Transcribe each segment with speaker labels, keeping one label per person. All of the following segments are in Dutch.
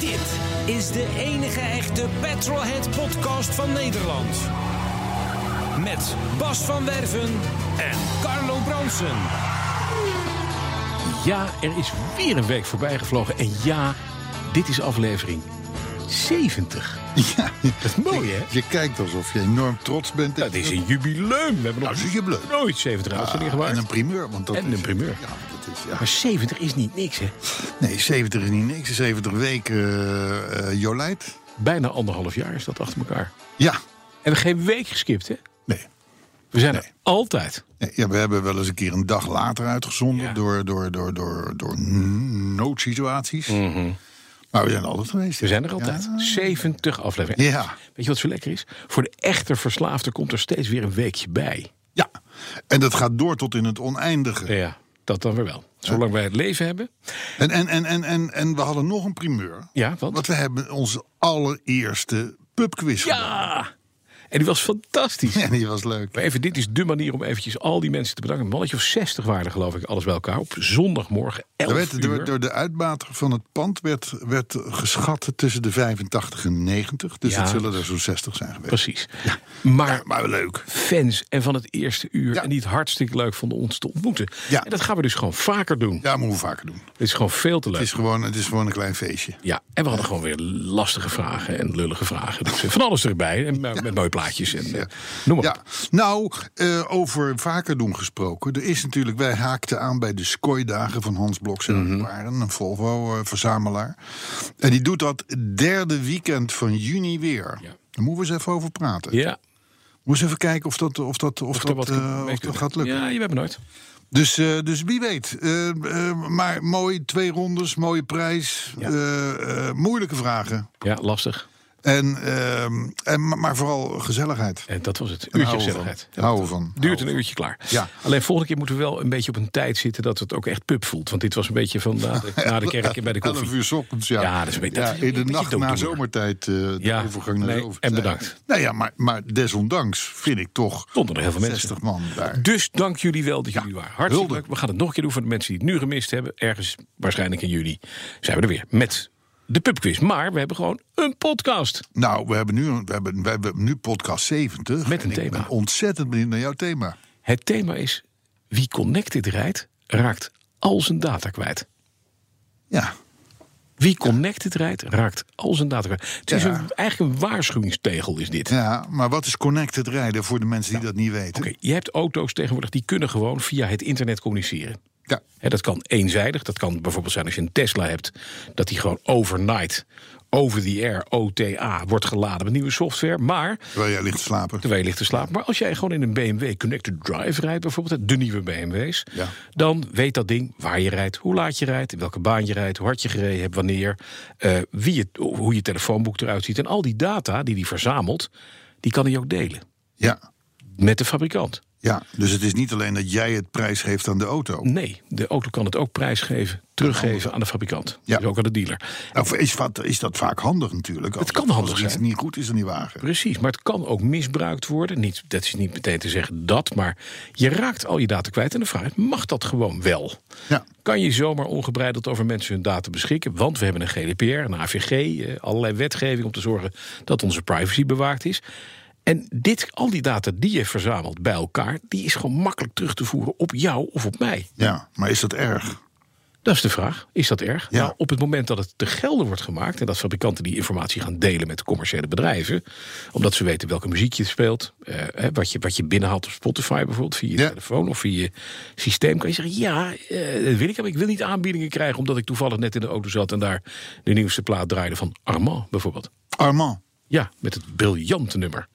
Speaker 1: Dit is de enige echte Petrolhead podcast van Nederland. Met Bas van Werven en Carlo Bronsen.
Speaker 2: Ja, er is weer een week voorbij gevlogen. En ja, dit is aflevering 70.
Speaker 3: Ja,
Speaker 2: Dat is mooi, hè?
Speaker 3: je kijkt alsof je enorm trots bent.
Speaker 2: Dat is een jubileum. We hebben nog
Speaker 3: dat is een jubileum.
Speaker 2: nooit 70 uitzendingen
Speaker 3: Ah,
Speaker 2: gemaakt.
Speaker 3: En een primeur. Want dat
Speaker 2: En
Speaker 3: is,
Speaker 2: een primeur.
Speaker 3: Ja, dat is,
Speaker 2: Maar
Speaker 3: ja.
Speaker 2: 70 is niet niks, hè?
Speaker 3: Nee, 70 is niet niks. 70 weken eh, eh, Jolijt.
Speaker 2: Bijna anderhalf jaar is dat achter elkaar.
Speaker 3: Ja,
Speaker 2: En we geen week geskipt, hè?
Speaker 3: nee.
Speaker 2: We zijn
Speaker 3: Nee.
Speaker 2: er altijd.
Speaker 3: Nee, Ja, we hebben wel eens een keer een dag later uitgezonden
Speaker 2: Ja.
Speaker 3: door, door, door, door, door noodsituaties. Maar we zijn er altijd geweest.
Speaker 2: Mhm. We zijn er altijd.
Speaker 3: Ja.
Speaker 2: 70 afleveringen.
Speaker 3: Ja.
Speaker 2: Weet je wat zo lekker is? Voor de echte verslaafde komt er steeds weer een weekje bij.
Speaker 3: ja, en dat gaat door tot in het oneindige.
Speaker 2: Ja, dat dan weer wel. Zolang wij het leven hebben.
Speaker 3: En, en, en, en, en, en we hadden nog een primeur.
Speaker 2: Ja, want?
Speaker 3: we hebben onze allereerste pubquiz gedaan.
Speaker 2: Ja! En die was fantastisch.
Speaker 3: Ja, die was leuk.
Speaker 2: Maar even, dit is dé manier om eventjes al die mensen te bedanken. Een mannetje of 60 waren er, geloof ik, alles bij elkaar. Op zondagmorgen, 11
Speaker 3: Er werd,
Speaker 2: uur.
Speaker 3: er werd- door de uitbater van het pand werd, werd geschat tussen de 85 en 90. Dus
Speaker 2: Ja.
Speaker 3: het zullen er zo'n 60 zijn geweest.
Speaker 2: Precies. Maar
Speaker 3: Maar leuk.
Speaker 2: fans en van het eerste uur
Speaker 3: Ja.
Speaker 2: en die het hartstikke leuk vonden ons te ontmoeten.
Speaker 3: Ja.
Speaker 2: En dat gaan we dus gewoon vaker doen.
Speaker 3: Ja, moeten we vaker doen.
Speaker 2: Het is gewoon veel te leuk.
Speaker 3: Het is gewoon, het is gewoon een klein feestje.
Speaker 2: Ja, en we hadden gewoon weer lastige vragen en lullige vragen. Dus eh, van alles erbij. En met met mooie plaatjes. En, eh, Noem maar
Speaker 3: Ja,
Speaker 2: op.
Speaker 3: nou, eh, over vaker doen gesproken. Er is natuurlijk, wij haakten aan bij de Skoy-dagen van Hans Bloks en
Speaker 2: Mhm.
Speaker 3: Waren, een Volvo-verzamelaar. En die doet dat het derde weekend van juni weer.
Speaker 2: Ja.
Speaker 3: Daar moeten we eens even over praten.
Speaker 2: Ja,
Speaker 3: Moeten we eens even kijken of dat, of dat, of
Speaker 2: er
Speaker 3: dat,
Speaker 2: wat
Speaker 3: eh,
Speaker 2: mee
Speaker 3: of dat
Speaker 2: kunnen.
Speaker 3: gaat lukken.
Speaker 2: Ja, je weet me nooit.
Speaker 3: Dus, eh, dus wie weet. Eh, eh, maar mooi, twee rondes, mooie prijs.
Speaker 2: Ja.
Speaker 3: eh, eh, moeilijke vragen.
Speaker 2: Ja, lastig.
Speaker 3: En, ehm, en, ma- maar vooral gezelligheid.
Speaker 2: En dat was het.
Speaker 3: En
Speaker 2: Uurtje
Speaker 3: houden we
Speaker 2: gezelligheid.
Speaker 3: van. Houden we van.
Speaker 2: Duurt een uurtje klaar.
Speaker 3: Ja.
Speaker 2: Alleen volgende keer moeten we wel een beetje op een tijd zitten dat het ook echt pub voelt. Want dit was een beetje van na de, na de kerk en bij de koffie.
Speaker 3: 11 uur 's ochtends, ja.
Speaker 2: Ja, dat is een beetje-
Speaker 3: Ja,
Speaker 2: dat is een
Speaker 3: in de
Speaker 2: beetje
Speaker 3: nacht na
Speaker 2: dooddoener.
Speaker 3: zomertijd, eh, de
Speaker 2: Ja,
Speaker 3: overgang naar
Speaker 2: nee,
Speaker 3: de zomertijd.
Speaker 2: en bedankt.
Speaker 3: Nou ja, maar, maar desondanks vind ik toch
Speaker 2: Stonden er heel veel mensen.
Speaker 3: 60 man daar.
Speaker 2: Dus dank jullie wel dat jullie
Speaker 3: Ja,
Speaker 2: waren. Hartstikke
Speaker 3: hulde.
Speaker 2: leuk. We gaan het nog een keer doen voor de mensen die het nu gemist hebben. Ergens, waarschijnlijk in juli, zijn we er weer met de pubquiz. Maar we hebben gewoon een podcast.
Speaker 3: Nou, we hebben nu, een- we hebben, we hebben nu podcast 70.
Speaker 2: Met een
Speaker 3: En ik
Speaker 2: thema.
Speaker 3: ben ontzettend benieuwd naar jouw thema.
Speaker 2: Het thema is, wie connected rijdt, raakt al zijn data kwijt.
Speaker 3: Ja,
Speaker 2: Wie connected rijdt, raakt al zijn data kwijt. Het is
Speaker 3: Ja.
Speaker 2: een, eigenlijk een waarschuwingstegel is dit.
Speaker 3: ja, maar wat is connected rijden voor de mensen die dat niet weten?
Speaker 2: Oké, je hebt auto's tegenwoordig die kunnen gewoon via het internet communiceren.
Speaker 3: Ja.
Speaker 2: Hè, dat kan eenzijdig. Dat kan bijvoorbeeld zijn als je een Tesla hebt, dat die gewoon overnight, over the air, OTA, wordt geladen met nieuwe software. Maar,
Speaker 3: Terwijl jij ligt te slapen.
Speaker 2: terwijl je ligt te slapen, maar als jij gewoon in een BMW Connected Drive rijdt, bijvoorbeeld, hè, de nieuwe BMW's,
Speaker 3: Ja.
Speaker 2: dan weet dat ding waar je rijdt, hoe laat je rijdt, in welke baan je rijdt, hoe hard je gereden hebt, wanneer, eh, wie je, hoe je telefoonboek eruit ziet. En al die data die die verzamelt, die kan hij ook delen
Speaker 3: Ja,
Speaker 2: met de fabrikant.
Speaker 3: ja, dus het is niet alleen dat jij het prijs geeft aan de auto.
Speaker 2: Nee, de auto kan het ook prijsgeven, teruggeven aan de fabrikant.
Speaker 3: Ja.
Speaker 2: Dus ook aan de dealer.
Speaker 3: Nou, is, wat- is dat vaak handig natuurlijk.
Speaker 2: Het kan
Speaker 3: Als-
Speaker 2: handig
Speaker 3: Als er iets
Speaker 2: zijn.
Speaker 3: niet goed is aan die wagen.
Speaker 2: Precies, maar het kan ook misbruikt worden. Niet, dat is niet meteen te zeggen dat, maar je raakt al je data kwijt. En de vraag is, mag dat gewoon wel?
Speaker 3: Ja.
Speaker 2: Kan je zomaar ongebreideld over mensen hun data beschikken? Want we hebben een GDPR, een AVG, eh, allerlei wetgeving om te zorgen dat onze privacy bewaakt is. En dit, al die data die je verzamelt bij elkaar, die is gewoon makkelijk terug te voeren op jou of op mij.
Speaker 3: Ja, maar is dat erg?
Speaker 2: Dat is de vraag. Is dat erg?
Speaker 3: Ja.
Speaker 2: Nou, op het moment dat het te gelden wordt gemaakt... en dat fabrikanten die informatie gaan delen met commerciële bedrijven... omdat ze weten welke muziek je speelt... eh, hè, wat, je, wat je binnenhaalt op Spotify bijvoorbeeld... via je
Speaker 3: Ja.
Speaker 2: telefoon of via je systeem... kan je zeggen, ja, eh, dat wil ik hebben. Ik wil niet aanbiedingen krijgen... omdat ik toevallig net in de auto zat... en daar de nieuwste plaat draaide van Armand bijvoorbeeld.
Speaker 3: Armand,
Speaker 2: Ja, met het briljante nummer.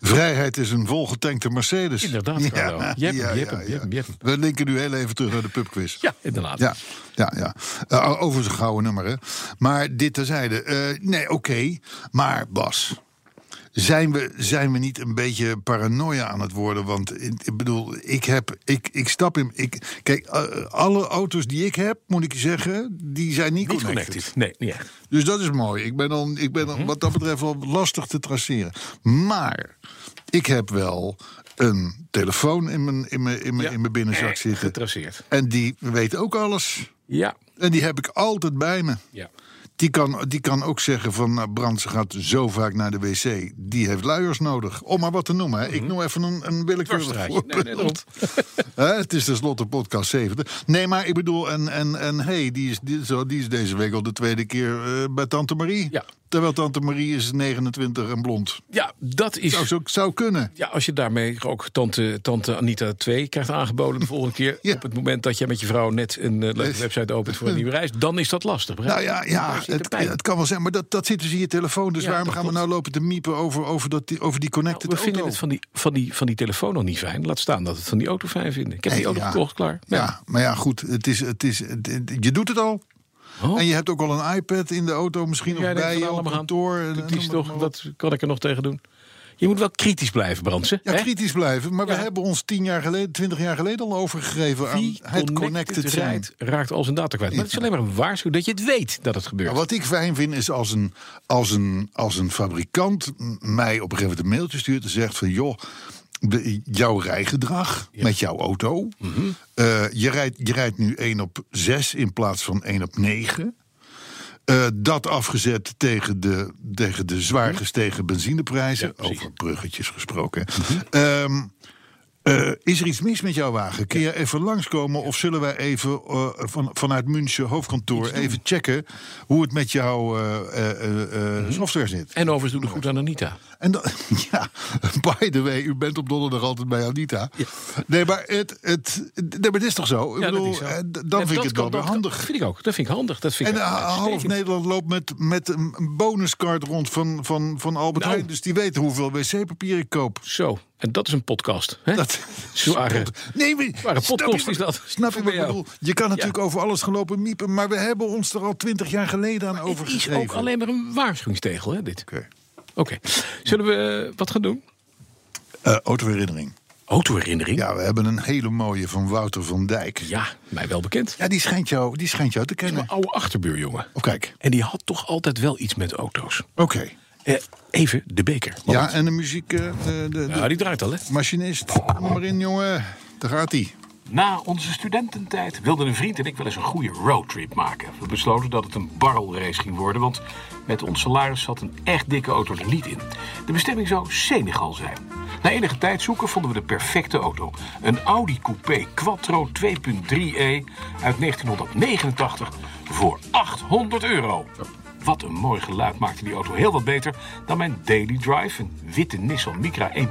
Speaker 3: Vrijheid is een volgetankte Mercedes.
Speaker 2: Inderdaad, Carlo. Je hebt hem, je hebt hem, je hebt hem, je hebt hem.
Speaker 3: We linken nu heel even terug naar de pubquiz.
Speaker 2: Ja, inderdaad.
Speaker 3: Ja, ja, ja. Eh, over zijn gouden nummer, hè. Maar dit terzijde. Eh, nee, oké. Maar Bas, zijn we, zijn we niet een beetje paranoia aan het worden? Want ik ik bedoel, ik heb, ik, ik stap in, ik, kijk, eh, alle auto's die ik heb, moet ik je zeggen, die zijn niet,
Speaker 2: Niet
Speaker 3: connected.
Speaker 2: connected. Nee, niet echt.
Speaker 3: Dus dat is mooi. Ik ben, dan, ik ben dan, wat dat betreft wel lastig te traceren. Maar ik heb wel een telefoon in mijn, in mijn, in mijn,
Speaker 2: Ja.
Speaker 3: in mijn binnenzak
Speaker 2: Eh,
Speaker 3: zitten.
Speaker 2: getraceerd.
Speaker 3: En die weet ook alles.
Speaker 2: Ja.
Speaker 3: En die heb ik altijd bij me.
Speaker 2: ja.
Speaker 3: Die kan, die kan ook zeggen van nou, Brand ze gaat zo vaak naar de wc. Die heeft luiers nodig. Om maar wat te noemen. Hè. Ik noem even een, een willekeurig
Speaker 2: Dwarsstraatje.
Speaker 3: voorbeeld.
Speaker 2: Nee, Mhm. nee, daarom.
Speaker 3: Hè, het is tenslotte podcast 70. Nee, maar ik bedoel, en, en, en hey, die is, die, zo, die is deze week al de tweede keer eh, bij Tante Marie.
Speaker 2: Ja.
Speaker 3: Terwijl Tante Marie is 29 en blond.
Speaker 2: Ja, dat is...
Speaker 3: Zou, zou, zou kunnen.
Speaker 2: Ja, als je daarmee ook tante, tante Anita 2 krijgt aangeboden de volgende keer...
Speaker 3: Ja.
Speaker 2: op het moment dat jij met je vrouw net een eh, leuke website opent voor een nieuwe reis... dan is dat lastig, begrijp
Speaker 3: Nou
Speaker 2: je?
Speaker 3: ja, ja
Speaker 2: Daar zit de
Speaker 3: het,
Speaker 2: pijn.
Speaker 3: het kan wel zijn, maar dat, dat zit dus in je telefoon. Dus
Speaker 2: Ja,
Speaker 3: waarom
Speaker 2: dat
Speaker 3: gaan we
Speaker 2: klopt.
Speaker 3: nou lopen te miepen over, over, dat, die- over die
Speaker 2: Nou,
Speaker 3: connected
Speaker 2: we vinden
Speaker 3: auto?
Speaker 2: het van die, van, die, van die telefoon nog niet fijn. Laat staan dat we het van die auto fijn vinden. Ik heb die
Speaker 3: Nee,
Speaker 2: auto
Speaker 3: ja.
Speaker 2: gekocht, klaar.
Speaker 3: Ja.
Speaker 2: Nee.
Speaker 3: maar ja, goed. Het is, het is, het- het- je doet het al.
Speaker 2: Oh.
Speaker 3: En je hebt ook al een iPad in de auto, misschien
Speaker 2: Jij
Speaker 3: of
Speaker 2: denkt
Speaker 3: bij
Speaker 2: van nou,
Speaker 3: je op
Speaker 2: allemaal aan.
Speaker 3: kantoor.
Speaker 2: Het
Speaker 3: en- en
Speaker 2: is
Speaker 3: noem het
Speaker 2: toch,
Speaker 3: maar op.
Speaker 2: wat kan ik er nog tegen doen? Je moet wel kritisch blijven, Brandsen.
Speaker 3: Ja,
Speaker 2: hè?
Speaker 3: kritisch blijven. Maar
Speaker 2: Ja.
Speaker 3: we hebben ons tien jaar geleden, twintig jaar geleden al overgegeven aan
Speaker 2: Wie
Speaker 3: het connected
Speaker 2: connected
Speaker 3: zijn.
Speaker 2: rijdt, raakt al zijn data kwijt. Maar het is alleen maar een waarschuwing dat je het weet dat het gebeurt.
Speaker 3: Maar wat ik fijn vind is als een, als een, als een fabrikant m- mij op een gegeven moment een mailtje stuurt en zegt van joh, de- jouw rijgedrag met jouw auto.
Speaker 2: Mhm.
Speaker 3: eh, je, rijdt, je rijdt nu 1 op 6 in plaats van 1 op 9. Eh, dat afgezet tegen de, tegen de zwaar gestegen benzineprijzen.
Speaker 2: Mhm. Ja, precies. Mhm.
Speaker 3: over bruggetjes gesproken. Ehm, eh, is er iets mis met jouw wagen? Kun je even langskomen of zullen wij even eh, van, vanuit München hoofdkantoor even checken hoe het met jouw eh, eh, eh, eh,
Speaker 2: Mhm.
Speaker 3: software zit?
Speaker 2: En overigens doe het goed aan Anita.
Speaker 3: En dan, ja, by the way, u bent op donderdag altijd bij Anita.
Speaker 2: Ja.
Speaker 3: Nee, maar het, het, nee, maar het is toch zo? Ik
Speaker 2: Ja, dat
Speaker 3: bedoel,
Speaker 2: is zo.
Speaker 3: eh, d- dan
Speaker 2: Ja,
Speaker 3: vind ik
Speaker 2: dat
Speaker 3: het
Speaker 2: kan-
Speaker 3: wel weer
Speaker 2: dat-
Speaker 3: handig.
Speaker 2: Dat vind ik ook. Dat vind ik handig. Dat vind
Speaker 3: En
Speaker 2: ik
Speaker 3: eh, half
Speaker 2: uitstekend.
Speaker 3: Nederland loopt met, met een bonuscard rond van, van, van Albert
Speaker 2: Nou.
Speaker 3: Heijn. Dus die weten hoeveel wc-papier ik koop.
Speaker 2: Zo, en dat is een podcast. Hè?
Speaker 3: Dat,
Speaker 2: Zware.
Speaker 3: nee, maar,
Speaker 2: Zware
Speaker 3: snap
Speaker 2: podcast
Speaker 3: je wat-
Speaker 2: is dat.
Speaker 3: Snap je
Speaker 2: Voor
Speaker 3: wat ik
Speaker 2: jou.
Speaker 3: bedoel? Je kan natuurlijk over alles gelopen miepen, maar we hebben ons er al twintig jaar geleden aan
Speaker 2: Het is
Speaker 3: overgegeven.
Speaker 2: ook alleen maar een waarschuwingstegel, hè, dit.
Speaker 3: Oké.
Speaker 2: Oké. Zullen we eh, wat gaan doen?
Speaker 3: Eh, autoherinnering.
Speaker 2: Autoherinnering?
Speaker 3: Ja, we hebben een hele mooie van Wouter van Dijk.
Speaker 2: Ja, mij wel bekend.
Speaker 3: Ja, die schijnt jou, die schijnt jou te kennen.
Speaker 2: Mijn oude achterbuurjongen.
Speaker 3: Oh, kijk.
Speaker 2: En die had toch altijd wel iets met auto's.
Speaker 3: Oké.
Speaker 2: Eh, even de beker.
Speaker 3: Ja, en de muziek, eh, de, de,
Speaker 2: Ja, die draait al, hè?
Speaker 3: de machinist. Kom maar in, jongen. Daar gaat hij.
Speaker 2: Na onze studententijd wilden een vriend en ik wel eens een goede roadtrip maken. We besloten dat het een barrelrace ging worden, want met ons salaris zat een echt dikke auto er niet in. De bestemming zou Senegal zijn. Na enige tijd zoeken vonden we de perfecte auto. Een Audi Coupé Quattro 2.3e E uit 1989 voor 800 euro. Wat een mooi geluid maakte die auto heel wat beter dan mijn Daily Drive, een witte Nissan Micra 1.2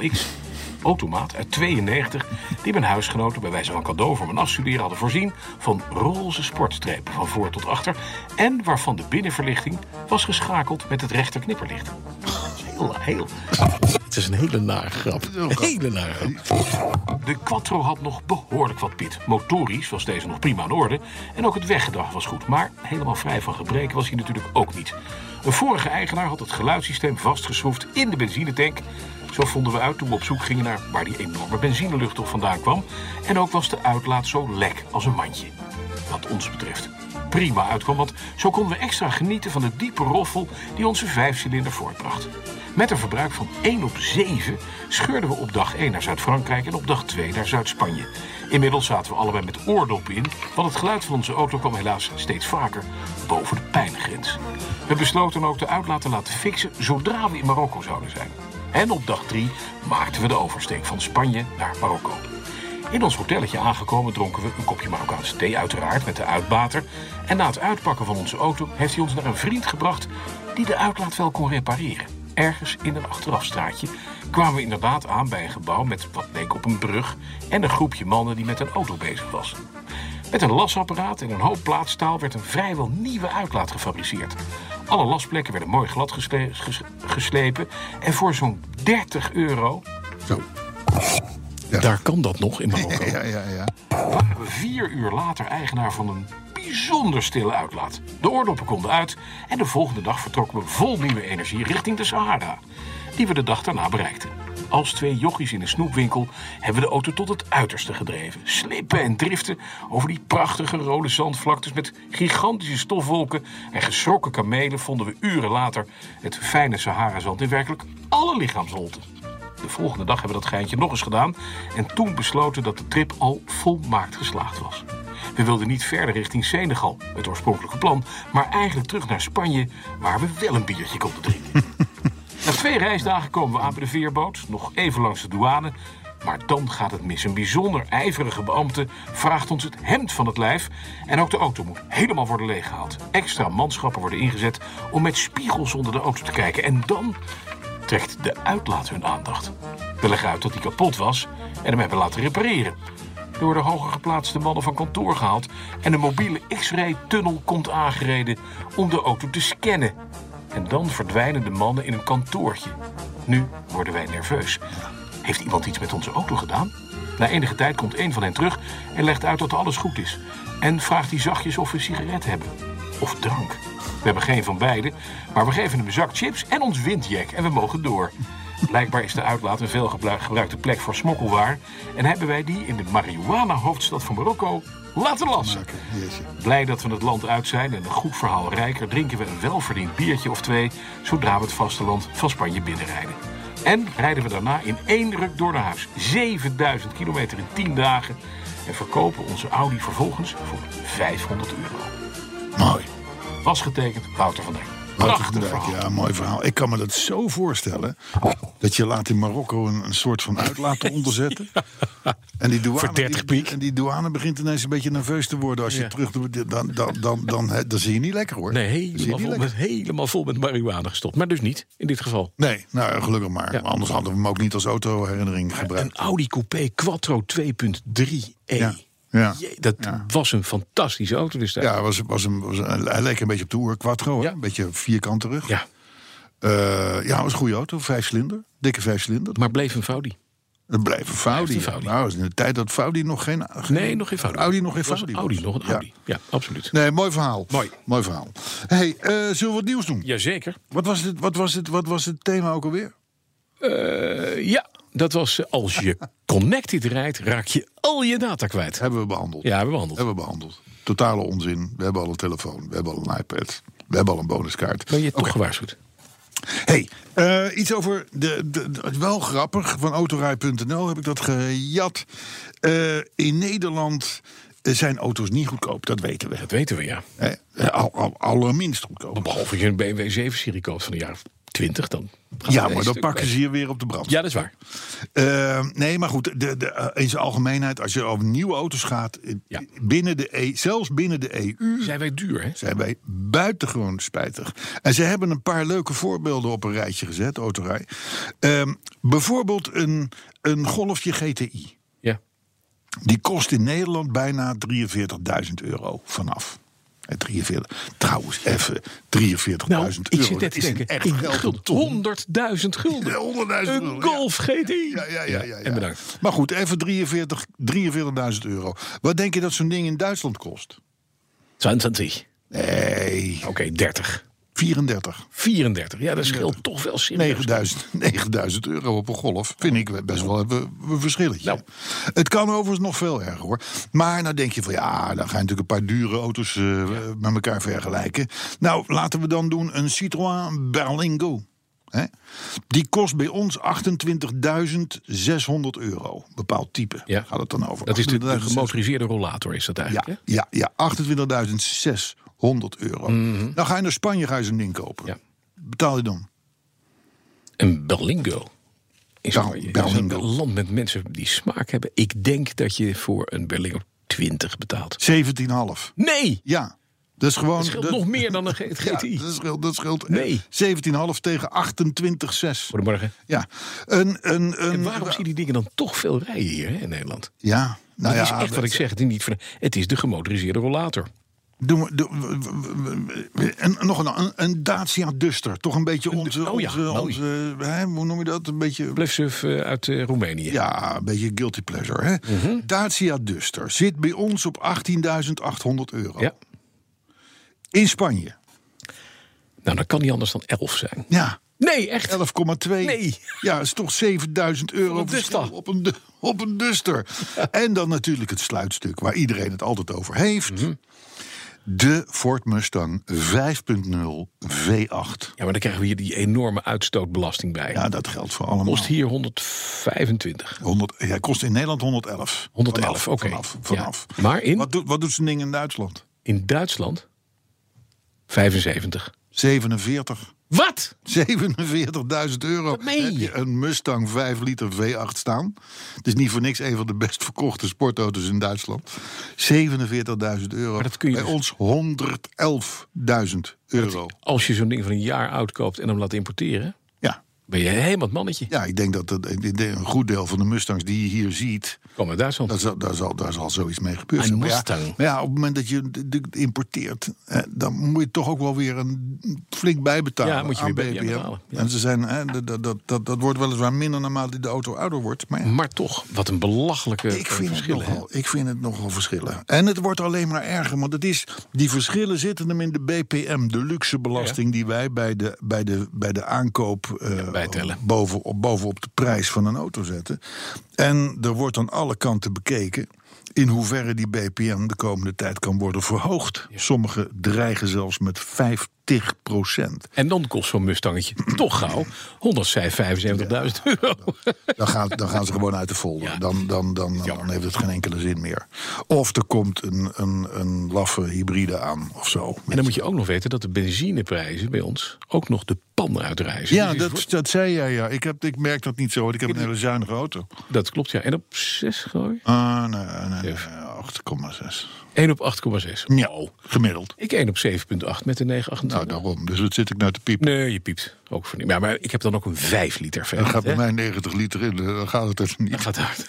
Speaker 2: LX automaat uit 92... die mijn huisgenoten bij wijze van cadeau voor mijn afstuderen hadden voorzien... van roze sportstrepen van voor tot achter... en waarvan de binnenverlichting was geschakeld met het rechter knipperlicht. Heel, heel... Het is een hele nare grap. Hele nare grap. De Quattro had nog behoorlijk wat pit. Motorisch was deze nog prima in orde en ook het weggedrag was goed. Maar helemaal vrij van gebreken was hij natuurlijk ook niet. Een vorige eigenaar had het geluidssysteem vastgeschroefd in de benzinetank. Zo vonden we uit toen we op zoek gingen naar waar die enorme benzineluchttocht vandaan kwam. En ook was de uitlaat zo lek als een mandje. Wat ons betreft prima uitkwam, want zo konden we extra genieten van de diepe roffel die onze vijfcilinder voortbracht. Met een verbruik van 1 op 7 scheurden we op dag 1 naar Zuid-Frankrijk en op dag 2 naar Zuid-Spanje. Inmiddels zaten we allebei met oordoppen in, want het geluid van onze auto kwam helaas steeds vaker boven de pijngrens. We besloten ook de uitlaat te laten fixen zodra we in Marokko zouden zijn. En op dag 3 maakten we de oversteek van Spanje naar Marokko. In ons hotelletje aangekomen dronken we een kopje Marokkaanse thee uiteraard met de uitbater. En na het uitpakken van onze auto heeft hij ons naar een vriend gebracht die de uitlaat wel kon repareren. Ergens in een achterafstraatje kwamen we inderdaad aan bij een gebouw met wat leek op een brug en een groepje mannen die met een auto bezig was. Met een lasapparaat en een hoop plaatstaal werd een vrijwel nieuwe uitlaat gefabriceerd. Alle lastplekken werden mooi glad gesle- ges- geslepen. En voor zo'n 30 euro,
Speaker 3: Zo.
Speaker 2: daar kan dat nog in Marokko,
Speaker 3: Ja, ja, ja.
Speaker 2: waren we vier uur later eigenaar van een bijzonder stille uitlaat. De oordoppen konden uit en de volgende dag vertrokken we vol nieuwe energie richting de Sahara, die we de dag daarna bereikten. Als twee jochies in een snoepwinkel hebben we de auto tot het uiterste gedreven. Slippen en driften over die prachtige rode zandvlaktes met gigantische stofwolken en geschrokken kamelen vonden we uren later het fijne Sahara-zand in werkelijk alle lichaamsholten. De volgende dag hebben we dat geintje nog eens gedaan en toen besloten dat de trip al volmaakt geslaagd was. We wilden niet verder richting Senegal, het oorspronkelijke plan, maar eigenlijk terug naar Spanje, waar we wel een biertje konden drinken. Na twee reisdagen komen we aan bij de veerboot, nog even langs de douane. Maar dan gaat het mis. Een bijzonder ijverige beambte vraagt ons het hemd van het lijf. En ook de auto moet helemaal worden leeggehaald. Extra manschappen worden ingezet om met spiegels onder de auto te kijken. En dan trekt de uitlaat hun aandacht. We leggen uit dat die kapot was en hem hebben laten repareren. Er worden hoger geplaatste mannen van kantoor gehaald en een mobiele X-ray tunnel komt aangereden om de auto te scannen. En dan verdwijnen de mannen in een kantoortje. Nu worden wij nerveus. Heeft iemand iets met onze auto gedaan? Na enige tijd komt een van hen terug en legt uit dat alles goed is. En vraagt hij zachtjes of we een sigaret hebben of drank. We hebben geen van beide, maar we geven hem een zak chips en ons windjack en we mogen door. Blijkbaar is de uitlaat een veelgebruikte plek voor smokkelwaar en hebben wij die in de marihuana-hoofdstad van Marokko laten lassen.
Speaker 3: Oké, jeetje.
Speaker 2: Blij dat we het land uit zijn en een goed verhaal rijker drinken we een welverdiend biertje of twee zodra we het vasteland van Spanje binnenrijden. En rijden we daarna in één ruk door naar huis. 7000 kilometer in 10 dagen. En verkopen onze Audi vervolgens voor 500 euro.
Speaker 3: Mooi.
Speaker 2: Was getekend Wouter van Dijk.
Speaker 3: Wouter van
Speaker 2: Prachtig
Speaker 3: Dijk,
Speaker 2: verhaal.
Speaker 3: Ja, mooi verhaal. Ik kan me dat zo voorstellen. Dat je laat in Marokko een, een soort van uitlaat eronder zetten. En die douane,
Speaker 2: Voor 30
Speaker 3: die-
Speaker 2: piek.
Speaker 3: en die douane begint ineens een beetje nerveus te worden. Als je
Speaker 2: Ja.
Speaker 3: terug doet, dan, dan, dan, dan, dan, zie je niet lekker hoor.
Speaker 2: Nee,
Speaker 3: Dan zie je
Speaker 2: helemaal
Speaker 3: niet
Speaker 2: vol,
Speaker 3: lekker.
Speaker 2: met, helemaal vol met marihuana gestopt. Maar dus niet, in dit geval.
Speaker 3: Nee, nou ja, gelukkig maar.
Speaker 2: Ja.
Speaker 3: Anders hadden we hem ook niet als autoherinnering
Speaker 2: Een
Speaker 3: gebruikt.
Speaker 2: Audi Coupé Quattro 2.3e.
Speaker 3: Ja. Ja.
Speaker 2: E. Jee, dat
Speaker 3: Ja.
Speaker 2: was een fantastische auto dus daar.
Speaker 3: Ja, was, was een, was een- hij leek een beetje op de Oer Quattro. hè?
Speaker 2: Ja.
Speaker 3: Een beetje vierkant terug.
Speaker 2: Ja,
Speaker 3: Eh, ja, was een goede auto. Vijf cilinder. Dikke vijf cilinder.
Speaker 2: maar bleef een Audi.
Speaker 3: Dat blijft een Faudi.
Speaker 2: Blijft een Faudi.
Speaker 3: Nou, is in de tijd dat Faudi nog geen...
Speaker 2: Nee, nog geen Audi.
Speaker 3: Audi nog geen
Speaker 2: Het was
Speaker 3: Faudi.
Speaker 2: een Audi,
Speaker 3: was.
Speaker 2: nog een
Speaker 3: Ja.
Speaker 2: Audi. Ja, absoluut.
Speaker 3: Nee, mooi verhaal.
Speaker 2: Mooi.
Speaker 3: Mooi verhaal. hey, eh, zullen we wat nieuws doen?
Speaker 2: Jazeker.
Speaker 3: Wat was het, wat was het, wat was het thema ook alweer?
Speaker 2: Eh, ja, dat was eh, als je connected rijdt, raak je al je data kwijt.
Speaker 3: Hebben we behandeld.
Speaker 2: Ja, we behandeld.
Speaker 3: Hebben we behandeld. Totale onzin. We hebben al een telefoon. We hebben al een iPad. We hebben al een bonuskaart.
Speaker 2: Ben je toch
Speaker 3: Oké.
Speaker 2: gewaarschuwd?
Speaker 3: Hey, eh, iets over de, de, de- het wel grappig van autorij.nl heb ik dat gejat. Eh, in Nederland eh, zijn auto's niet goedkoop, dat weten we.
Speaker 2: Dat weten we, ja.
Speaker 3: Hè? Eh, al, al, allerminst goedkoop.
Speaker 2: Behalve als je een BMW 7-serie koopt van een jaar of 20, dan gaat
Speaker 3: Ja,
Speaker 2: het
Speaker 3: maar
Speaker 2: een
Speaker 3: dat
Speaker 2: stuk
Speaker 3: pakken ze hier weer op de brand.
Speaker 2: Ja, dat is waar.
Speaker 3: Eh, nee, maar goed, de, de, eh, in zijn algemeenheid, als je over nieuwe auto's gaat, eh,
Speaker 2: Ja.
Speaker 3: binnen de E- zelfs binnen de EU
Speaker 2: Zijn wij duur, hè?
Speaker 3: zijn wij buitengewoon spijtig. En ze hebben een paar leuke voorbeelden op een rijtje gezet, autorij. Ehm, bijvoorbeeld een, een Golfje GTI.
Speaker 2: Ja.
Speaker 3: Die kost in Nederland bijna 43.000 euro vanaf. Eh, 43. Trouwens, even 43.000
Speaker 2: Nou,
Speaker 3: euro.
Speaker 2: ik zit net
Speaker 3: dat
Speaker 2: te
Speaker 3: is een
Speaker 2: denken,
Speaker 3: echt
Speaker 2: in
Speaker 3: geld.
Speaker 2: gulden, 100.000 gulden.
Speaker 3: 100.000 euro,
Speaker 2: Een Golf GTI.
Speaker 3: Ja, ja, ja, ja, ja.
Speaker 2: En bedankt.
Speaker 3: Maar goed, even 43 43.000 euro. Wat denk je dat zo'n ding in Duitsland kost?
Speaker 2: 22.
Speaker 3: Nee,
Speaker 2: Oké, 30.
Speaker 3: 34.
Speaker 2: 34. Ja, dat scheelt toch wel serieus.
Speaker 3: 9000, 9000 euro op een golf. Vind ik best wel een, een verschilletje.
Speaker 2: Nou.
Speaker 3: Het kan overigens nog veel erger hoor. Maar nou denk je van ja, dan ga je natuurlijk een paar dure auto's eh, met elkaar vergelijken. Nou, laten we dan doen een Citroën Berlingo. Hè? Die kost bij ons 28.600 euro. Bepaald type
Speaker 2: Ja.
Speaker 3: gaat het dan over.
Speaker 2: Dat is de, de
Speaker 3: 28.600.
Speaker 2: gemotoriseerde rollator, is dat
Speaker 3: Ja,
Speaker 2: eigenlijk, hè?
Speaker 3: ja, ja 28.600 euro. Dan ga je naar Spanje, ga je zo'n ding kopen.
Speaker 2: Mhm. Ja.
Speaker 3: Betaal je dan?
Speaker 2: Een Berlingo. Is
Speaker 3: Bel-
Speaker 2: mooi. Het is
Speaker 3: Berlingo.
Speaker 2: een land met mensen die smaak hebben. Ik denk dat je voor een Berlingo 20 betaalt.
Speaker 3: 17,5.
Speaker 2: Nee!
Speaker 3: Ja, dat is gewoon.
Speaker 2: Dat scheelt nog meer dan een G-
Speaker 3: ja,
Speaker 2: GTI.
Speaker 3: dat scheelt, dat scheelt
Speaker 2: Nee.
Speaker 3: 17,5 tegen 28,6.
Speaker 2: Goedemorgen.
Speaker 3: Ja, een. een, een
Speaker 2: En waarom zie je die dingen dan toch veel rijden hier hè, in Nederland?
Speaker 3: Ja, nou
Speaker 2: dat
Speaker 3: ja,
Speaker 2: is echt wat ik zeg. Het is, niet van, het is de gemotoriseerde rollator.
Speaker 3: Doen we, doen we- we- we- en nog een, een, een Dacia Duster. Toch een beetje onze...
Speaker 2: oh ja,
Speaker 3: onze,
Speaker 2: mooi.
Speaker 3: onze, hè, hoe noem je dat? Een beetje...
Speaker 2: Plefsuf eh, uit eh, Roemenië.
Speaker 3: Ja, een beetje guilty pleasure. Hè?
Speaker 2: Mhm.
Speaker 3: Dacia Duster zit bij ons op 18.800 euro.
Speaker 2: Ja.
Speaker 3: In Spanje.
Speaker 2: Nou, dan kan die anders dan 11 zijn.
Speaker 3: Ja,
Speaker 2: Nee, echt.
Speaker 3: 11,2.
Speaker 2: Nee.
Speaker 3: Ja, is toch 7000 euro
Speaker 2: een
Speaker 3: verschil
Speaker 2: Duster.
Speaker 3: op een, du- op een duster. En dan natuurlijk het sluitstuk waar iedereen het altijd over heeft.
Speaker 2: Mhm.
Speaker 3: De Ford Mustang 5.0 V8.
Speaker 2: Ja, maar dan krijgen we hier die enorme uitstootbelasting bij.
Speaker 3: Ja, dat geldt voor allemaal.
Speaker 2: Kost hier 125.
Speaker 3: 100, ja, kost in Nederland 111.
Speaker 2: 111,
Speaker 3: Vanaf,
Speaker 2: oké.
Speaker 3: Vanaf, vanaf.
Speaker 2: Ja. Maar in,
Speaker 3: Wat, doet, wat doet zo'n ding in Duitsland?
Speaker 2: in Duitsland 75.
Speaker 3: 47.
Speaker 2: Wat?
Speaker 3: 47.000 euro.
Speaker 2: Wat meen je?
Speaker 3: Heb je een Mustang 5 liter V8 staan. Het is niet voor niks een van de best verkochte sportauto's in Duitsland. 47.000 euro.
Speaker 2: Maar dat kun je
Speaker 3: Bij
Speaker 2: dus-
Speaker 3: ons 111.000 euro.
Speaker 2: Als je zo'n ding van een jaar oud koopt en hem laat importeren,
Speaker 3: Ja.
Speaker 2: ben je helemaal het mannetje.
Speaker 3: ja, ik denk dat dat- ik denk een goed deel van de Mustangs die je hier ziet...
Speaker 2: Kom uit Duitsland.
Speaker 3: Daar zal, daar, zal, daar zal zoiets mee gebeuren.
Speaker 2: Een
Speaker 3: Maar ja,
Speaker 2: Mustang.
Speaker 3: maar ja, op het moment dat je d- d- importeert, eh, dan moet je toch ook wel weer een flink bijbetalen.
Speaker 2: Ja, moet je
Speaker 3: aan
Speaker 2: weer bij-
Speaker 3: BPM.
Speaker 2: ja, betalen, ja.
Speaker 3: En ze zijn, eh, dat- dat, dat, dat, dat wordt weliswaar minder naarmate de auto ouder wordt. Maar ja,
Speaker 2: Maar toch, wat een belachelijke eh,
Speaker 3: ik vind, het
Speaker 2: verschillen. hè?
Speaker 3: nogal, ik vind het nogal verschillen. En het wordt alleen maar erger, want het is, die verschillen zitten hem in de BPM, de luxe belasting die wij bij de, bij de, bij de aankoop eh,
Speaker 2: bijtellen.
Speaker 3: bovenop, bovenop de prijs van een auto zetten. En er wordt aan alle kanten bekeken in hoeverre die BPM de komende tijd kan worden verhoogd. Sommigen dreigen zelfs met 50 procent.
Speaker 2: En dan kost zo'n Mustangetje toch gauw 175.000 euro.
Speaker 3: Dan gaan, dan gaan ze gewoon uit de folder.
Speaker 2: Ja.
Speaker 3: Dan, dan, dan, dan, heeft het geen enkele zin meer. Of er komt een, een, een laffe hybride aan of zo.
Speaker 2: En dan moet je ook nog weten dat de benzineprijzen bij ons ook nog de pan uitreizen.
Speaker 3: Ja,
Speaker 2: Dus het
Speaker 3: dat, dat zei jij. Ja. Ik, heb, ik merk dat niet zo. want Ik heb een hele zuinige auto.
Speaker 2: wordt- dat klopt, ja. En op 6, geloof ik?
Speaker 3: Ah, nee, nee, nee,
Speaker 2: Zeven.
Speaker 3: 8,6.
Speaker 2: 1 op 8,6.
Speaker 3: Ja, gemiddeld.
Speaker 2: Ik 1 op 7,8 met de 9,28.
Speaker 3: Nou, daarom. Dus wat zit ik nou te piepen?
Speaker 2: Nee, je piept. Ook voor niet. Ja, maar ik heb dan ook een 5 liter
Speaker 3: Dan
Speaker 2: verder.
Speaker 3: gaat bij mij 90 liter in. Dan gaat het even niet.
Speaker 2: gaat hard.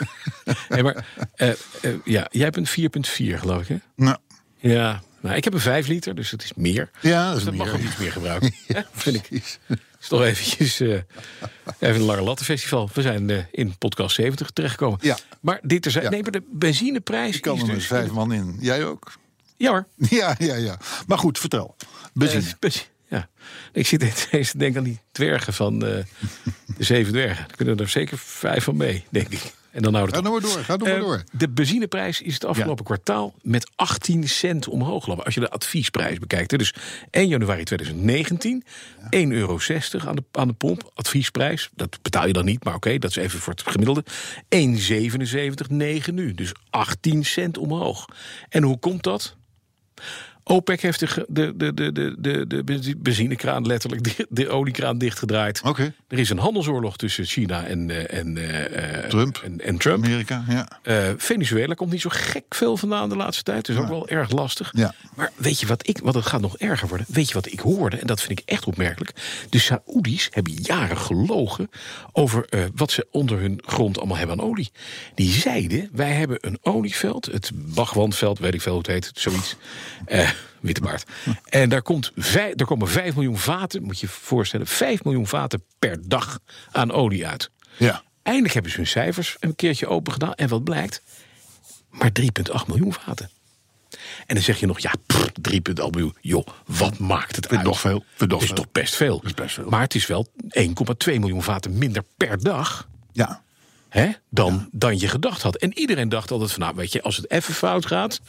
Speaker 2: nee, maar eh, eh, ja, jij bent 4,4 geloof ik, hè?
Speaker 3: Nou,
Speaker 2: Ja. Nou, ik heb een 5 liter, dus dat is meer.
Speaker 3: ja, dat
Speaker 2: Dus
Speaker 3: is
Speaker 2: dat mag
Speaker 3: meer.
Speaker 2: ik iets meer gebruiken. Hè, vind ik.
Speaker 3: Precies.
Speaker 2: is toch eventjes eh, even een lange lattenfestival. We zijn eh, in podcast 70 terechtgekomen.
Speaker 3: Ja.
Speaker 2: Maar dit terzijde.
Speaker 3: Ja.
Speaker 2: Nee, maar de benzineprijs
Speaker 3: Ik kan
Speaker 2: is
Speaker 3: er met
Speaker 2: dus-
Speaker 3: vijf man in. Jij ook?
Speaker 2: Ja hoor.
Speaker 3: Ja, ja, ja. Maar goed, vertel. Benzine.
Speaker 2: Eh, benzine, ja. Ik zit ineens te denken aan die dwergen van eh, de Zeven Dwergen. Daar kunnen er zeker vijf van mee, denk ik. En dan houdt
Speaker 3: Ga
Speaker 2: het
Speaker 3: nog
Speaker 2: op.
Speaker 3: maar door. Ga nog maar
Speaker 2: Eh,
Speaker 3: door.
Speaker 2: de benzineprijs is het afgelopen kwartaal met 18 cent omhoog gelopen. Als je de adviesprijs bekijkt. hè. Dus 1 januari 2019, 1,60 euro aan de, aan de pomp. Adviesprijs, dat betaal je dan niet, maar oké, dat is even voor het gemiddelde. 1,77,9 nu. Dus 18 cent omhoog. En hoe komt dat? OPEC heeft de, ge- de, de, de, de, de, de benzi- benzinekraan letterlijk, de, de oliekraan dichtgedraaid.
Speaker 3: Oké.
Speaker 2: Er is een handelsoorlog tussen China en, eh, en, eh, eh,
Speaker 3: Trump.
Speaker 2: En, en Trump.
Speaker 3: Amerika, ja.
Speaker 2: Eh, Venezuela komt niet zo gek veel vandaan de laatste tijd. Dus ook wel erg lastig.
Speaker 3: Ja.
Speaker 2: Maar weet je wat ik, want het gaat nog erger worden. Weet je wat ik hoorde, en dat vind ik echt opmerkelijk. De Saoedi's hebben jaren gelogen over eh, wat ze onder hun grond allemaal hebben aan olie. Die zeiden, wij hebben een olieveld, het Bagwanveld, weet ik veel hoe het heet, zoiets. Eh witte baard. En daar, komt vij- daar komen 5 miljoen vaten, moet je je voorstellen, 5 miljoen vaten per dag aan olie uit.
Speaker 3: Ja.
Speaker 2: Eindelijk hebben ze hun cijfers een keertje open gedaan. En wat blijkt? Maar 3,8 miljoen vaten. En dan zeg je nog, ja, pff, 3,8 miljoen. Joh, wat maakt het
Speaker 3: Vind
Speaker 2: uit?
Speaker 3: nog veel, vind nog
Speaker 2: Het is
Speaker 3: veel.
Speaker 2: toch best veel.
Speaker 3: is best veel.
Speaker 2: Maar het is wel 1,2 miljoen vaten minder per dag...
Speaker 3: Ja.
Speaker 2: Hè, dan, dan je gedacht had. En iedereen dacht altijd van, nou weet je, als het even fout gaat...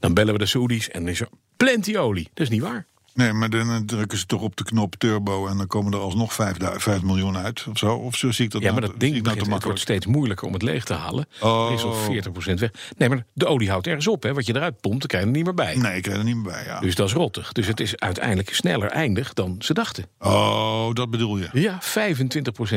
Speaker 2: dan bellen we de Saoedi's en dan is er plenty olie. Dat is niet waar.
Speaker 3: Nee, maar dan eh, drukken ze toch op de knop turbo en dan komen er alsnog 5, miljoen uit of zo. Of zo zie ik dat
Speaker 2: Ja,
Speaker 3: nou
Speaker 2: maar
Speaker 3: te-
Speaker 2: dat
Speaker 3: zie
Speaker 2: ding begint,
Speaker 3: ik nou te
Speaker 2: het wordt
Speaker 3: makkelijk.
Speaker 2: steeds moeilijker om het leeg te halen.
Speaker 3: Oh.
Speaker 2: Er is al 40% weg. Nee, maar de olie houdt ergens op. Hè. Wat je eruit pompt, dan krijg je er niet meer bij.
Speaker 3: Nee, ik krijg er niet meer bij, ja.
Speaker 2: Dus dat is rottig. Dus het is uiteindelijk sneller eindig dan ze dachten.
Speaker 3: Oh, dat bedoel je.
Speaker 2: Ja, 25%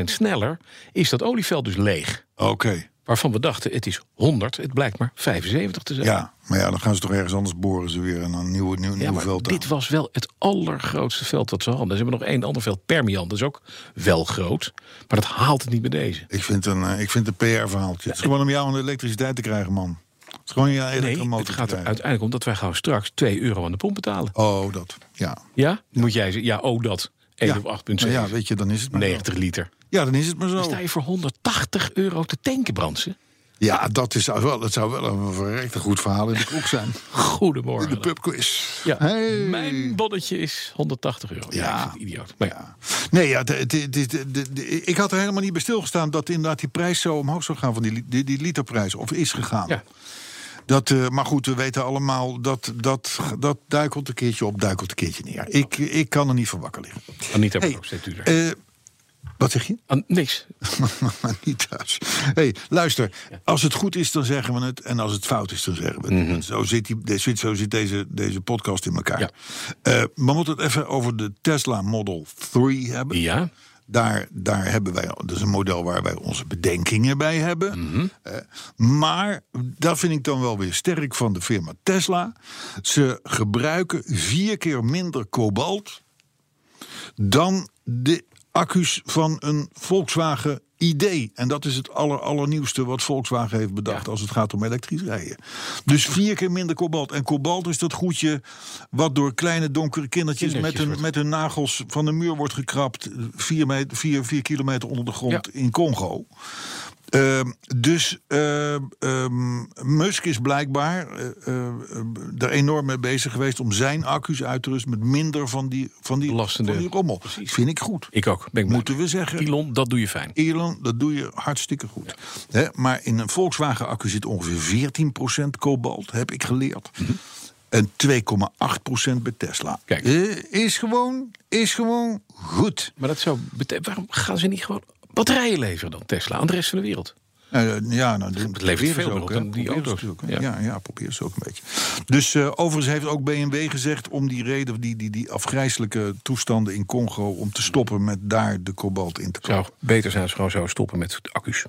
Speaker 2: sneller is dat olieveld dus leeg.
Speaker 3: Oké.
Speaker 2: Waarvan we dachten, het is 100, het blijkt maar 75 te zijn.
Speaker 3: Ja, maar ja, dan gaan ze toch ergens anders boren ze weer en een nieuw, nieuw,
Speaker 2: Ja,
Speaker 3: nieuw
Speaker 2: maar
Speaker 3: veld
Speaker 2: dit
Speaker 3: aan.
Speaker 2: was wel het allergrootste veld dat ze hadden. Ze hebben nog één ander veld, Permian, dat is ook wel groot. Maar dat haalt het niet bij deze.
Speaker 3: Ik vind een, eh, ik vind een PR-verhaaltje. Het is gewoon om jou aan de elektriciteit te krijgen, man. Het is gewoon je
Speaker 2: Nee,
Speaker 3: elektromotor.
Speaker 2: het gaat er
Speaker 3: bedrijf.
Speaker 2: uiteindelijk om dat wij gewoon straks 2 euro aan de pomp betalen.
Speaker 3: Oh, dat. Ja.
Speaker 2: Ja? Moet jij zeggen, ja, oh dat. 1
Speaker 3: ja.
Speaker 2: op 8,7.
Speaker 3: Nou ja, weet je, dan is het maar zo.
Speaker 2: 90 liter.
Speaker 3: Ja, dan is het maar
Speaker 2: Dan
Speaker 3: zo.
Speaker 2: sta je voor 180 euro te tanken, Bransen.
Speaker 3: Ja, dat, is, zou wel, dat zou wel een verrekte goed verhaal in de kroeg zijn.
Speaker 2: Goedemorgen.
Speaker 3: De pubquiz.
Speaker 2: Ja.
Speaker 3: Hey.
Speaker 2: Mijn bonnetje is 180 euro. Ja,
Speaker 3: Ja.
Speaker 2: ik vind het idioot. Maar ja.
Speaker 3: Nee, ja, de- de- de- de- de- de- ik had er helemaal niet bij stilgestaan dat inderdaad die prijs zo omhoog zou gaan van die, li- die, die literprijs. Of is gegaan.
Speaker 2: Ja.
Speaker 3: Dat, eh, maar goed, we weten allemaal dat dat, dat duikelt een keertje op, duikelt een keertje neer. Ik, ik kan er niet van wakker liggen.
Speaker 2: Anita
Speaker 3: Hey,
Speaker 2: hey, ook steeds duurder.
Speaker 3: eh, wat zeg je?
Speaker 2: An- niks.
Speaker 3: maar niet thuis. hey, luister. Als het goed is, dan zeggen we het. En als het fout is, dan zeggen we het. Zo zit, die, de- zit- zo zit deze, deze podcast in elkaar.
Speaker 2: Ja.
Speaker 3: Eh, maar we moeten het even over de Tesla Model 3 hebben.
Speaker 2: Ja.
Speaker 3: Daar, daar hebben wij, dat is een model waar wij onze bedenkingen bij hebben.
Speaker 2: Mhm.
Speaker 3: Eh, maar dat vind ik dan wel weer sterk van de firma Tesla. Ze gebruiken vier keer minder kobalt dan de accu's van een Volkswagen ID. En dat is het aller, allernieuwste wat Volkswagen heeft bedacht als het gaat om elektrisch rijden. Dus vier keer minder kobalt. En kobalt is dat goedje wat door kleine donkere kindertjes met
Speaker 2: Kindertjes
Speaker 3: hun,
Speaker 2: wordt-
Speaker 3: met hun nagels van de muur wordt gekrapt. Vier, meter, vier, vier kilometer onder de grond
Speaker 2: Ja.
Speaker 3: in Congo. Ehm, dus ehm, ehm, Musk is blijkbaar eh, eh, er enorm mee bezig geweest om zijn accu's uit te rusten met minder van die, van die,
Speaker 2: Belastende. Nou,
Speaker 3: van die rommel. Vind ik goed.
Speaker 2: Ik ook. Ben ik
Speaker 3: Moeten
Speaker 2: moe.
Speaker 3: we zeggen.
Speaker 2: Elon, dat doe je fijn.
Speaker 3: Elon, dat doe je hartstikke goed. Hè, maar in een Volkswagen-accu zit ongeveer 14% kobalt, heb ik geleerd. En 2,8% bij Tesla.
Speaker 2: Mhm. Kijk.
Speaker 3: Eh, is, gewoon, is gewoon goed.
Speaker 2: Maar dat zou betekenen... Waarom gaan ze niet gewoon batterijen leveren dan, Tesla, aan de rest van de wereld?
Speaker 3: Eh, ja, nou, dat
Speaker 2: Het levert veel meer op dan die auto's.
Speaker 3: Ja.
Speaker 2: Ja.
Speaker 3: Ja, probeer ze ook een beetje. Dus eh, overigens heeft ook BMW gezegd om die reden, die, die, die afgrijzelijke toestanden in Congo, om te stoppen met daar de kobalt in te kopen.
Speaker 2: Zou beter zijn als ze gewoon zo stoppen met de accu's.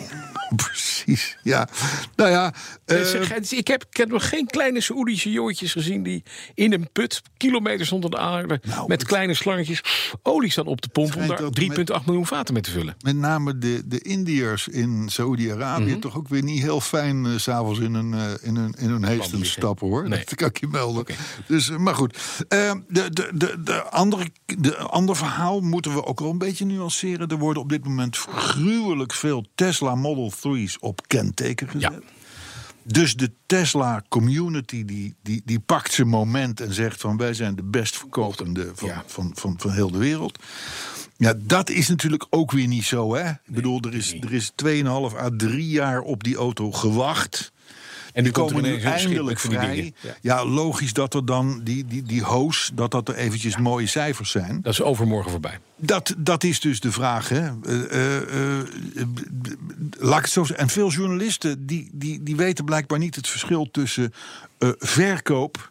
Speaker 3: Precies. Ja, nou ja. eh,
Speaker 2: Dus, eh, dus ik, heb, ik heb nog geen kleine Saoedische jongetjes gezien die in een put, kilometers onder de aarde,
Speaker 3: Nou,
Speaker 2: met
Speaker 3: het-
Speaker 2: kleine slangetjes olie staan op te pompen om
Speaker 3: schijnt
Speaker 2: daar
Speaker 3: dat
Speaker 2: 3,8 miljoen vaten mee te vullen.
Speaker 3: met name de, de Indiërs in Saoedi-Arabië
Speaker 2: Mhm.
Speaker 3: toch ook weer niet heel fijn eh, s s'avonds in hun, eh, in hun, in hun heesten
Speaker 2: liggen.
Speaker 3: stappen hoor.
Speaker 2: Nee.
Speaker 3: Dat kan ik je melden. Dus, eh, maar goed, Eh, de, de, de, de andere, de ander verhaal moeten we ook wel een beetje nuanceren. Er worden op dit moment gruwelijk veel Tesla Model 3's op kenteken gezet.
Speaker 2: Ja.
Speaker 3: Dus de Tesla community die, die, die pakt zijn moment en zegt van wij zijn de best verkopende van,
Speaker 2: Ja.
Speaker 3: van, van, van heel de wereld. Ja, dat is natuurlijk ook weer niet zo, hè? Ik bedoel, er is, er is 2,5 à 3 jaar op die auto gewacht.
Speaker 2: En nu
Speaker 3: Die komen
Speaker 2: er
Speaker 3: nu
Speaker 2: ineens een schip
Speaker 3: eindelijk
Speaker 2: met van die
Speaker 3: vrij.
Speaker 2: dingen.
Speaker 3: Ja.
Speaker 2: Ja.
Speaker 3: logisch dat er dan die, die, die hoos, dat dat er eventjes mooie cijfers zijn.
Speaker 2: Dat is overmorgen voorbij.
Speaker 3: Dat, dat is dus de vraag. Hè? Eh, eh, eh, b- b- b- laat ik het zo zeggen. En veel journalisten die, die, die weten blijkbaar niet het verschil tussen eh, verkoop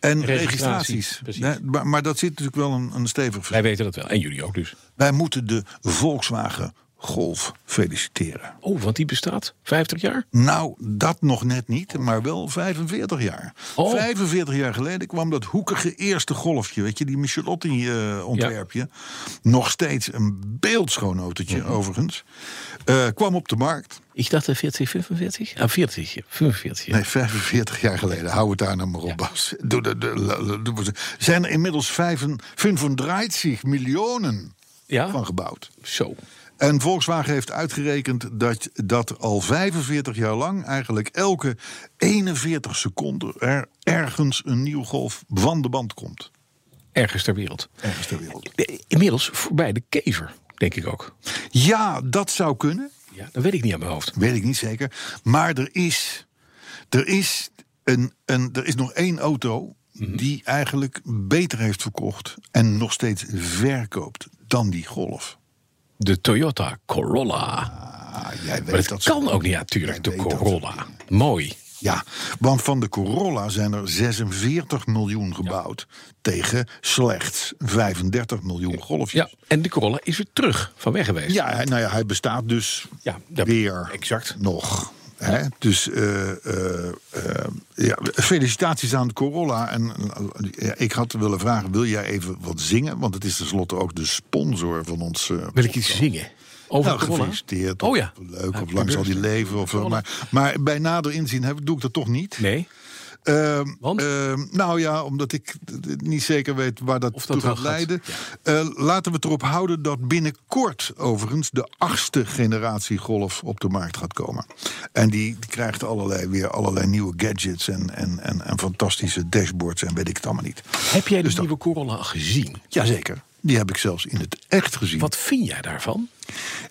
Speaker 3: en
Speaker 2: Registraties,
Speaker 3: registraties.
Speaker 2: precies.
Speaker 3: Hè, maar, maar dat zit natuurlijk wel een, een stevig verschil.
Speaker 2: Wij weten dat wel. En jullie ook dus.
Speaker 3: Wij moeten de Volkswagen Golf feliciteren.
Speaker 2: Oh, want die bestaat 50 jaar?
Speaker 3: Nou, dat nog net niet, maar wel 45 jaar.
Speaker 2: Oh.
Speaker 3: 45 jaar geleden kwam dat hoekige eerste golfje, weet je, die Michelotti-ontwerpje. Nog steeds een beeldschoon autootje,
Speaker 2: Mhm.
Speaker 3: overigens. Eh, kwam op de markt.
Speaker 2: Ik dacht eh, 40, 45? Ah, 40, ja, 45. ja.
Speaker 3: Nee, 45 jaar geleden. Hou het daar nou maar op, Bas. Doe, de- de- la- la- doe maar zo. zijn er inmiddels 35 miljoen
Speaker 2: Ja?
Speaker 3: van gebouwd.
Speaker 2: Zo.
Speaker 3: En Volkswagen heeft uitgerekend dat, dat al 45 jaar lang, eigenlijk elke 41 seconden, er ergens een nieuw golf van de band komt.
Speaker 2: Ergens ter wereld.
Speaker 3: Ergens ter wereld.
Speaker 2: Eh, Inmiddels voorbij de kever, denk ik ook.
Speaker 3: Ja, dat zou kunnen.
Speaker 2: Ja, dat weet ik niet aan mijn hoofd.
Speaker 3: Weet ik niet zeker. Maar er is, er is, een, een, er is nog één auto die eigenlijk beter heeft verkocht en nog steeds verkoopt dan die golf.
Speaker 2: De Toyota Corolla.
Speaker 3: Ah, jij weet
Speaker 2: Maar dat,
Speaker 3: dat ze-
Speaker 2: kan ook niet, natuurlijk,
Speaker 3: Jij
Speaker 2: de
Speaker 3: weet dat
Speaker 2: Corolla. Mooi.
Speaker 3: Ja, want van de Corolla zijn er 46 miljoen gebouwd tegen slechts 35 miljoen golfjes.
Speaker 2: Ja, en de Corolla is weer terug van weg geweest.
Speaker 3: Ja, hij- nou ja, hij bestaat dus
Speaker 2: Ja, ja,
Speaker 3: weer
Speaker 2: exact.
Speaker 3: nog. Hè? Dus eh, eh, eh, ja, felicitaties aan Corolla. En eh, ja, ik had willen vragen: wil jij even wat zingen? Want het is tenslotte ook de sponsor van ons. eh,
Speaker 2: Wil ik iets zingen? Over
Speaker 3: nou,
Speaker 2: Corolla?
Speaker 3: gefeliciteerd.
Speaker 2: Oh
Speaker 3: of
Speaker 2: ja.
Speaker 3: Leuk, of
Speaker 2: Happy
Speaker 3: lang zal die
Speaker 2: birthday.
Speaker 3: leven. Of, eh, maar, maar bij nader inzien heb, doe ik dat toch niet.
Speaker 2: Nee.
Speaker 3: Ehm,
Speaker 2: Want?
Speaker 3: ehm, nou ja, omdat ik d- d- niet zeker weet waar dat,
Speaker 2: Of dat
Speaker 3: toe
Speaker 2: wel
Speaker 3: gaat
Speaker 2: gaat,
Speaker 3: leiden. Eh, laten we het erop houden dat binnenkort overigens de achtste generatie Golf op de markt gaat komen. En die krijgt allerlei, weer allerlei nieuwe gadgets en, en, en, en fantastische dashboards en weet ik het allemaal niet.
Speaker 2: Heb jij de
Speaker 3: Dus Mm. dat-
Speaker 2: nieuwe Corolla gezien?
Speaker 3: Jazeker. Die heb ik zelfs in het echt gezien.
Speaker 2: Wat vind jij daarvan?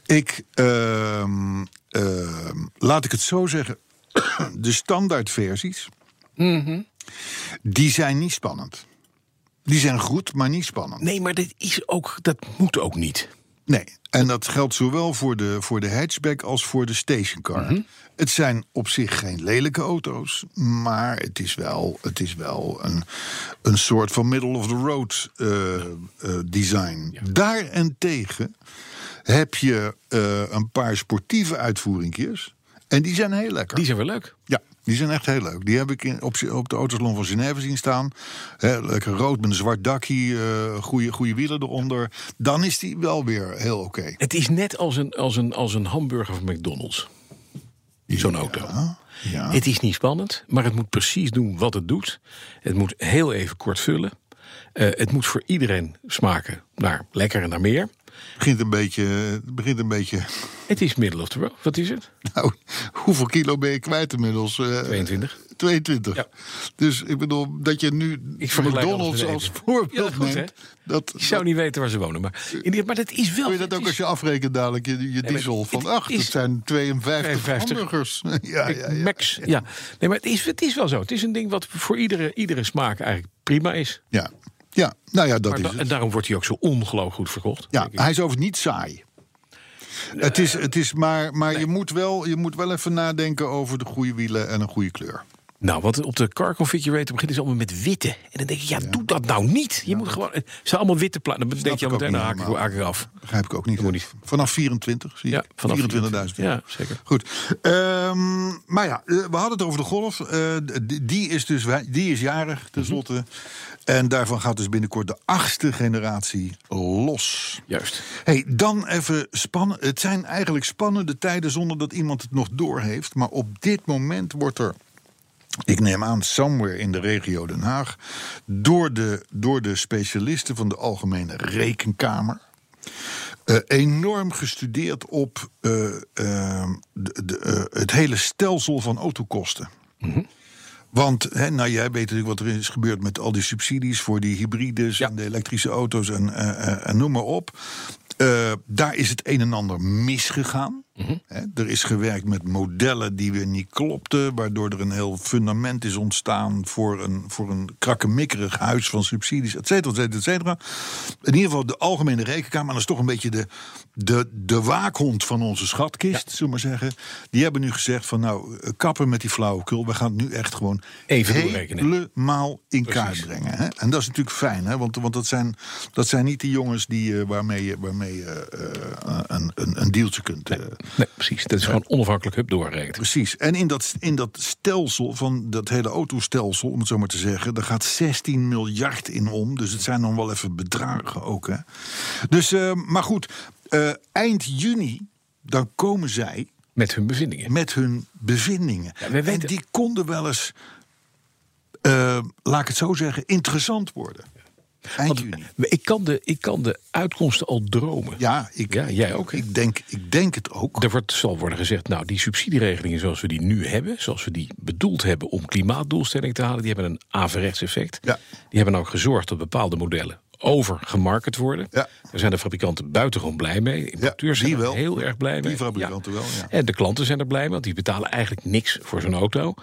Speaker 3: Ik, ehm, ehm, laat ik het zo zeggen, de standaardversies, die zijn niet spannend. Die zijn goed, maar niet spannend.
Speaker 2: Nee, maar dit is ook, dat moet ook niet.
Speaker 3: Nee, en dat geldt zowel voor de, voor de hatchback als voor de stationcar. Het zijn op zich geen lelijke auto's, maar het is wel, het is wel een, een soort van middle-of-the-road eh, eh, design. Daarentegen heb je eh, een paar sportieve uitvoeringjes. En die zijn heel lekker.
Speaker 2: Die zijn wel leuk.
Speaker 3: Ja, die zijn echt heel leuk. Die heb ik in, op, op de autosalon van Genève zien staan. Hè, lekker rood met een zwart dakje, eh, goede, goede wielen eronder. Dan is die wel weer heel oké.
Speaker 2: Het is net als een, als een, als een hamburger van McDonald's. Zo'n auto.
Speaker 3: Ja.
Speaker 2: Het is niet spannend, maar het moet precies doen wat het doet. Het moet heel even kort vullen. Eh, het moet voor iedereen smaken naar lekker en naar meer.
Speaker 3: Begint een beetje, het begint een beetje.
Speaker 2: Het is middel of the road. Wat is het?
Speaker 3: Nou, hoeveel kilo ben je kwijt inmiddels? Eh,
Speaker 2: 22.
Speaker 3: 22.
Speaker 2: Ja.
Speaker 3: Dus ik bedoel, dat je nu
Speaker 2: Ik vergelijk alles
Speaker 3: McDonald's
Speaker 2: met
Speaker 3: als
Speaker 2: eten.
Speaker 3: voorbeeld
Speaker 2: Ja, goed, hè?
Speaker 3: neemt. Dat,
Speaker 2: Ik zou niet weten waar ze wonen, maar, in ieder- maar dat is wel...
Speaker 3: Doe je dat ook
Speaker 2: is-
Speaker 3: als je afrekent dadelijk je, je diesel
Speaker 2: het
Speaker 3: van 8?
Speaker 2: is-
Speaker 3: Dat zijn 52
Speaker 2: 52.
Speaker 3: hamburgers. Ja, Ah, ja, ja.
Speaker 2: Max, ja. Nee, maar het is, het is wel zo. Het is een ding wat voor iedere, iedere smaak eigenlijk prima is.
Speaker 3: Ja. ja, nou ja, dat
Speaker 2: Maar
Speaker 3: is
Speaker 2: da-
Speaker 3: het.
Speaker 2: en daarom wordt hij ook zo ongelooflijk goed verkocht.
Speaker 3: Ja,
Speaker 2: denk ik.
Speaker 3: hij is overigens niet saai. het is, het is maar, maar je, moet wel, je moet wel even nadenken over de goede wielen en een goede kleur.
Speaker 2: Nou, want op de car configurator beginnen ze allemaal met witte. En dan denk ik, ja, doe dat nou niet. Je moet gewoon... Het zijn allemaal witte platen. Dan denk je
Speaker 3: ik
Speaker 2: al
Speaker 3: ook
Speaker 2: meteen, nou, haak
Speaker 3: niet
Speaker 2: ik
Speaker 3: helemaal.
Speaker 2: haak ik af.
Speaker 3: Begrijp ik ook niet.
Speaker 2: moet niet.
Speaker 3: Vanaf 24, zie
Speaker 2: Ja,
Speaker 3: ik.
Speaker 2: vanaf
Speaker 3: 24.000.
Speaker 2: Ja, zeker.
Speaker 3: Goed. Ehm, maar ja, eh, we hadden het over de Golf. Eh, d- die is dus wij- die is jarig, tenslotte.
Speaker 2: Mhm.
Speaker 3: En daarvan gaat dus binnenkort de achtste generatie los.
Speaker 2: Juist.
Speaker 3: Hey, dan even spannen. Het zijn eigenlijk spannende tijden zonder dat iemand het nog doorheeft. Maar op dit moment wordt er. Ik neem aan, somewhere in de regio Den Haag. door de, door de specialisten van de Algemene Rekenkamer. eh, enorm gestudeerd op eh, eh, de, de, eh, het hele stelsel van autokosten. Want hè, nou, jij weet natuurlijk wat er is gebeurd met al die subsidies voor die hybrides en de elektrische auto's en, eh, eh, en noem maar op. Eh, daar is het een en ander misgegaan. Hè, er is gewerkt met modellen die weer niet klopten, waardoor er een heel fundament is ontstaan voor een, voor een krakkemikkerig huis van subsidies, et cetera, et cetera, et cetera. In ieder geval de Algemene Rekenkamer, en dat is toch een beetje de, de, de waakhond van onze schatkist, zullen we maar zeggen. Die hebben nu gezegd van nou, eh, kappen met die flauwekul, we gaan het nu echt gewoon
Speaker 2: Even doorrekenen.
Speaker 3: helemaal in kaart brengen. Hè? En dat is natuurlijk fijn, hè? want, want dat, zijn, dat zijn niet de jongens die, eh, waarmee je waarmee, je, eh, een, een, een deeltje kunt. eh,
Speaker 2: Nee, precies. Dat is gewoon onafhankelijk hup doorrekenen.
Speaker 3: Precies. En in dat, in dat stelsel, van dat hele autostelsel, om het zo maar te zeggen, daar gaat 16 miljard in om. Dus het zijn dan wel even bedragen ook. Hè? Dus, eh, maar goed, eh, eind juni, dan komen zij
Speaker 2: Met hun bevindingen.
Speaker 3: met hun bevindingen.
Speaker 2: Ja, we weten-
Speaker 3: En die konden wel eens, eh, laat ik het zo zeggen, interessant worden. Eind
Speaker 2: Want
Speaker 3: juni.
Speaker 2: ik kan, de, ik kan de uitkomsten al dromen.
Speaker 3: Ja, ik,
Speaker 2: Ja, jij ook, hè?
Speaker 3: Ik denk, ik denk het ook.
Speaker 2: Er wordt, zal worden gezegd, nou, die subsidieregelingen zoals we die nu hebben... zoals we die bedoeld hebben om klimaatdoelstelling te halen... die hebben een averechts effect.
Speaker 3: Ja.
Speaker 2: Die hebben ook gezorgd dat bepaalde modellen overgemarket worden.
Speaker 3: Ja.
Speaker 2: Daar zijn de fabrikanten buitengewoon blij mee. Importeurs
Speaker 3: die
Speaker 2: zijn er
Speaker 3: wel.
Speaker 2: heel erg blij mee.
Speaker 3: Die fabrikanten wel, ja.
Speaker 2: En de klanten zijn er blij mee, want die betalen eigenlijk niks voor zo'n auto...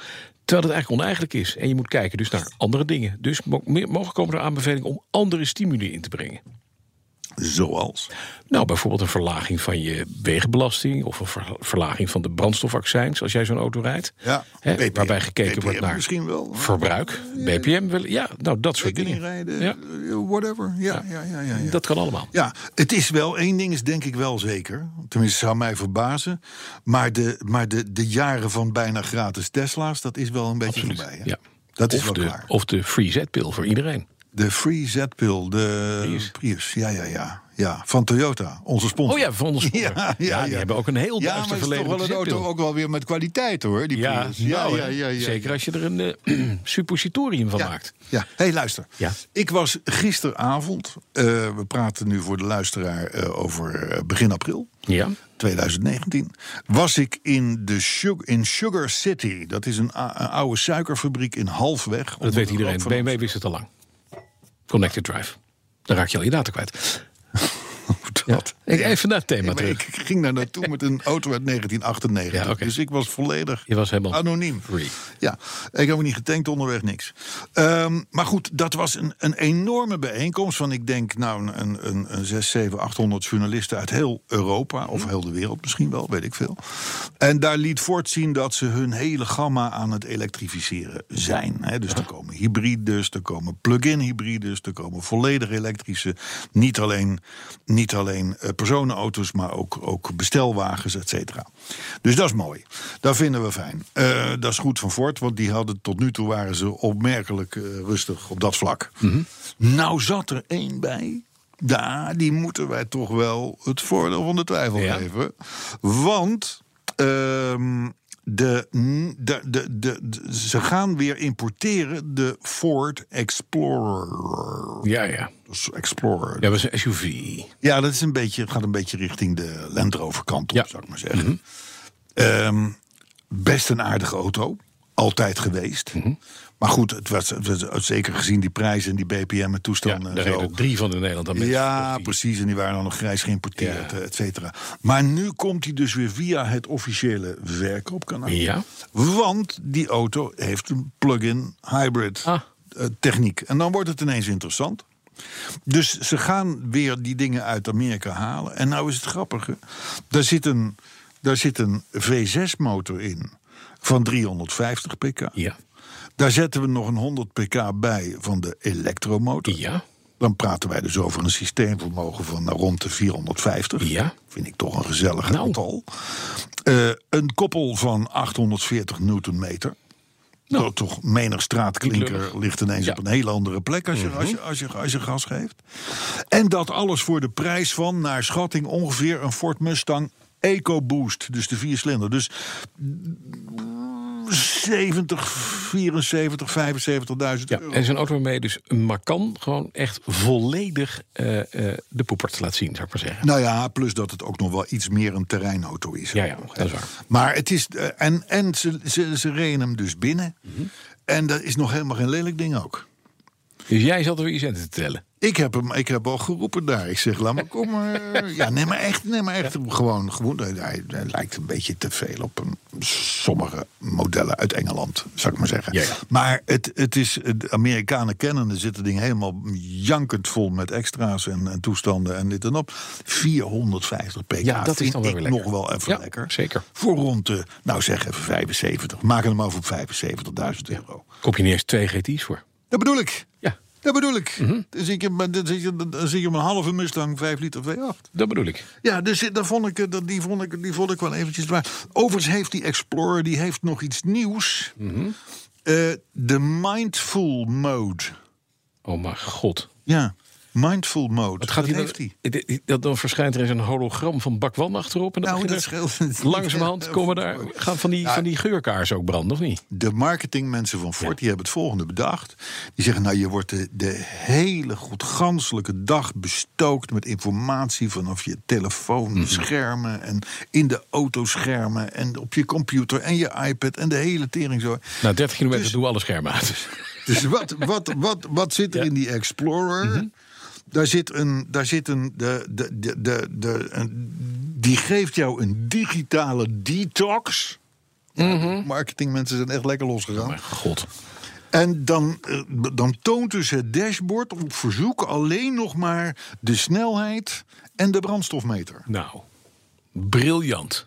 Speaker 2: Terwijl het eigenlijk oneigenlijk is. En je moet kijken dus naar andere dingen. Dus mo- mogelijk komen er aanbevelingen om andere stimuli in te brengen.
Speaker 3: Zoals?
Speaker 2: Nou, bijvoorbeeld een verlaging van je wegenbelasting of een ver- verlaging van de brandstofaccijns als jij zo'n auto rijdt.
Speaker 3: Ja,
Speaker 2: Hè,
Speaker 3: BPM.
Speaker 2: waarbij gekeken
Speaker 3: BPM
Speaker 2: wordt naar
Speaker 3: misschien wel.
Speaker 2: verbruik, BPM, wel, ja, nou dat soort dingen.
Speaker 3: Rekening rijden,
Speaker 2: Ja,
Speaker 3: whatever. Ja, ja, ja, ja. ja.
Speaker 2: Dat kan allemaal.
Speaker 3: Ja, het is wel, één ding is denk ik wel zeker. Tenminste, zou mij verbazen. Maar de, maar de, de jaren van bijna gratis Tesla's, dat is wel een beetje voorbij. Hè?
Speaker 2: Ja.
Speaker 3: Dat is
Speaker 2: of,
Speaker 3: wel
Speaker 2: de,
Speaker 3: klaar.
Speaker 2: of de free Z-pil voor iedereen.
Speaker 3: De Free Z-pil, de Prius. Ja, ja, ja, ja. Van Toyota, onze sponsor.
Speaker 2: Oh ja, van ons.
Speaker 3: Ja, ja, ja.
Speaker 2: die hebben ook een heel duister
Speaker 3: Ja, maar het is
Speaker 2: verleden.
Speaker 3: toch wel
Speaker 2: met
Speaker 3: een
Speaker 2: de
Speaker 3: auto
Speaker 2: Z-pil.
Speaker 3: ook wel weer met kwaliteit hoor, die
Speaker 2: Ja,
Speaker 3: Prius.
Speaker 2: nou, hè. zeker als je er een eh, suppositorium van maakt.
Speaker 3: Ja. Hé, hey, luister.
Speaker 2: Ja.
Speaker 3: Ik was gisteravond, eh, we praten nu voor de luisteraar eh, over eh, begin april.
Speaker 2: Ja.
Speaker 3: 2019 was ik in, de Sugar, in Sugar City. Dat is een, a- een oude suikerfabriek in Halfweg.
Speaker 2: Dat
Speaker 3: Onder
Speaker 2: weet
Speaker 3: de
Speaker 2: iedereen.
Speaker 3: rook van
Speaker 2: BMW wist het al lang. Connected Drive. Dan raak je al je data kwijt.
Speaker 3: Amsterdam. Dat.
Speaker 2: Ik, even naar het thema
Speaker 3: Nee, maar
Speaker 2: terug.
Speaker 3: ik ging daar naartoe met een auto uit 1998.
Speaker 2: Ja, oké.
Speaker 3: Dus ik was volledig
Speaker 2: Je was helemaal
Speaker 3: anoniem.
Speaker 2: free.
Speaker 3: Ja, ik heb me niet getankt onderweg, niks. Ehm, maar goed, dat was een, een enorme bijeenkomst van, ik denk, nou, een, een, een 6, 7, 800 journalisten uit heel Europa, of heel de wereld misschien wel, weet ik veel. En daar liet Ford zien dat ze hun hele gamma aan het elektrificeren zijn. Hè? Dus er komen hybrides, er komen plug-in hybrides, er komen volledig elektrische, niet alleen, niet alleen eh, personenauto's, maar ook, ook bestelwagens, et cetera. Dus dat is mooi. Dat vinden we fijn. Eh, dat is goed van Ford, want die hadden tot nu toe waren ze opmerkelijk eh, rustig op dat vlak. Nou zat er één bij. Ja, die moeten wij toch wel het voordeel van de twijfel
Speaker 2: Ja.
Speaker 3: geven. Want ehm, de, de, de, de, de- ze gaan weer importeren de Ford Explorer.
Speaker 2: Ja, ja.
Speaker 3: Dus Explorer.
Speaker 2: Ja, was een SUV.
Speaker 3: Ja, dat is een beetje, gaat een beetje richting de Land Rover kant op,
Speaker 2: Ja. Mhm.
Speaker 3: zou ik maar zeggen. Ehm, best een aardige auto. Altijd geweest.
Speaker 2: Mhm.
Speaker 3: Maar goed, het was, het was- zeker gezien die prijzen en die BPM en
Speaker 2: Ja,
Speaker 3: toestanden
Speaker 2: daar
Speaker 3: en eh, zo.
Speaker 2: reden drie van in Nederland aan mee.
Speaker 3: Ja, precies. En die waren dan nog grijs geïmporteerd,
Speaker 2: Ja.
Speaker 3: eh, et cetera. Maar nu komt hij dus weer via het officiële verkoopkanaal.
Speaker 2: Ja.
Speaker 3: Want die auto heeft een plug-in hybrid
Speaker 2: Ah.
Speaker 3: eh, techniek. En dan wordt het ineens interessant. Dus ze gaan weer die dingen uit Amerika halen. En nou is het grappige. Daar zit een, daar zit een V6-motor in van 350 pk.
Speaker 2: Ja.
Speaker 3: Daar zetten we nog een 100 pk bij van de elektromotor.
Speaker 2: Ja.
Speaker 3: Dan praten wij dus over een systeemvermogen van nou, rond de 450.
Speaker 2: Ja.
Speaker 3: Vind ik toch een gezellig
Speaker 2: Nou.
Speaker 3: aantal. Eh, een koppel van 840 newtonmeter. Nou, toch menig straatklinker
Speaker 2: lullig.
Speaker 3: ligt ineens
Speaker 2: Ja. Mhm.
Speaker 3: op een hele andere plek als je, als, je, als, je, als je gas geeft. En dat alles voor de prijs van, naar schatting, ongeveer een Ford Mustang EcoBoost. Dus de viercilinder. Dus mm, 70, 74, 75.000
Speaker 2: Ja,
Speaker 3: euro.
Speaker 2: en zo'n auto waarmee je dus een Macan gewoon echt volledig eh, eh, de poepert laat zien, zou ik maar zeggen.
Speaker 3: Nou ja, plus dat het ook nog wel iets meer een terreinauto is.
Speaker 2: Ja, ja, dat is waar.
Speaker 3: Maar het is. eh, En, en ze, ze, ze reden hem dus binnen.
Speaker 2: Mhm.
Speaker 3: En dat is nog helemaal geen lelijk ding ook.
Speaker 2: Dus jij zat er weer je centen te tellen.
Speaker 3: Ik heb hem, ik heb al geroepen daar. Ik zeg, laat maar komen. ja, nee, maar echt, nee, maar echt gewoon, gewoon. Hij, hij- hij lijkt een beetje te veel op een, sommige modellen uit Engeland, zou ik maar zeggen.
Speaker 2: Ja, ja.
Speaker 3: Maar het, het is, de Amerikanen kennen, er zit het ding helemaal jankend vol met extra's en, en toestanden en dit en op. 450 pk.
Speaker 2: Ja, dat is
Speaker 3: vind
Speaker 2: dan wel weer
Speaker 3: ik
Speaker 2: lekker.
Speaker 3: nog wel even
Speaker 2: Ja,
Speaker 3: lekker.
Speaker 2: zeker.
Speaker 3: Voor rond de, nou zeg even 75. Maak hem over op 75.000 euro.
Speaker 2: Koop je niet eens twee GT's voor.
Speaker 3: Dat bedoel ik.
Speaker 2: Ja,
Speaker 3: Dat bedoel ik. Dan zie ik hem- dan zie je- dan zie je hem een halve Mustang 5 liter V8.
Speaker 2: dat bedoel ik.
Speaker 3: Ja, dus dat vond ik, eh, dat, die, vond ik, die vond ik wel eventjes waar. Overigens heeft die Explorer die heeft nog iets nieuws. Eh, de Mindful Mode.
Speaker 2: Oh mijn god.
Speaker 3: Ja, Mindful Mode.
Speaker 2: Wat gaat
Speaker 3: dat
Speaker 2: hij
Speaker 3: heeft hij.
Speaker 2: dan, dat dan verschijnt er eens een hologram van Bakwan achterop. En dan
Speaker 3: Nou,
Speaker 2: beginnen-
Speaker 3: dat scheelt.
Speaker 2: Langzamerhand komen daar, gaan van die, van die geurkaars ook branden, of niet?
Speaker 3: De marketingmensen van Ford die hebben het volgende bedacht. Die zeggen, nou je wordt de, de hele goed ganselijke dag bestookt met informatie vanaf je telefoon, schermen en in de autoschermen en op je computer en je iPad en de hele tering zo.
Speaker 2: Na 30 kilometer
Speaker 3: Dus-
Speaker 2: doen we alle schermen uit.
Speaker 3: Dus wat, wat, wat, wat zit er in die Explorer? Daar zit een. Daar zit een, de, de, de, de, de- een- die geeft jou een digitale detox. Ja, Marketingmensen zijn echt lekker losgegaan.
Speaker 2: Mijn god.
Speaker 3: En dan, eh, dan toont dus het dashboard op verzoek alleen nog maar de snelheid en de brandstofmeter.
Speaker 2: Nou, briljant.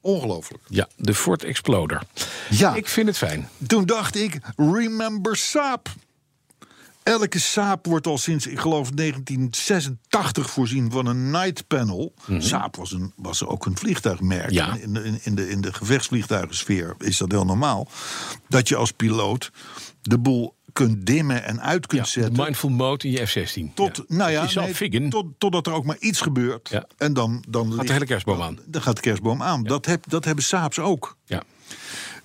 Speaker 3: Ongelooflijk.
Speaker 2: Ja, de Ford Exploder.
Speaker 3: Ja.
Speaker 2: Ik vind het fijn.
Speaker 3: Toen dacht ik, remember Saab. Elke Saab wordt al sinds, ik geloof, 1986 voorzien van een night panel. Saab was, een, was ook een vliegtuigmerk.
Speaker 2: Mhm. Ja.
Speaker 3: In, de- in, in, de, in de gevechtsvliegtuigensfeer is dat heel normaal. Dat je als piloot de boel kunt dimmen en uit kunt
Speaker 2: Ja, de
Speaker 3: zetten.
Speaker 2: mindful mode in je F-16.
Speaker 3: Tot, Nou ja,
Speaker 2: Je zal
Speaker 3: nee,
Speaker 2: figgen.
Speaker 3: tot, totdat er ook maar iets gebeurt.
Speaker 2: Ja.
Speaker 3: En dan, dan ligt-
Speaker 2: hele kerstboom aan.
Speaker 3: Dan gaat de kerstboom aan. Dat, heb, dat hebben Saabs ook.
Speaker 2: Ja.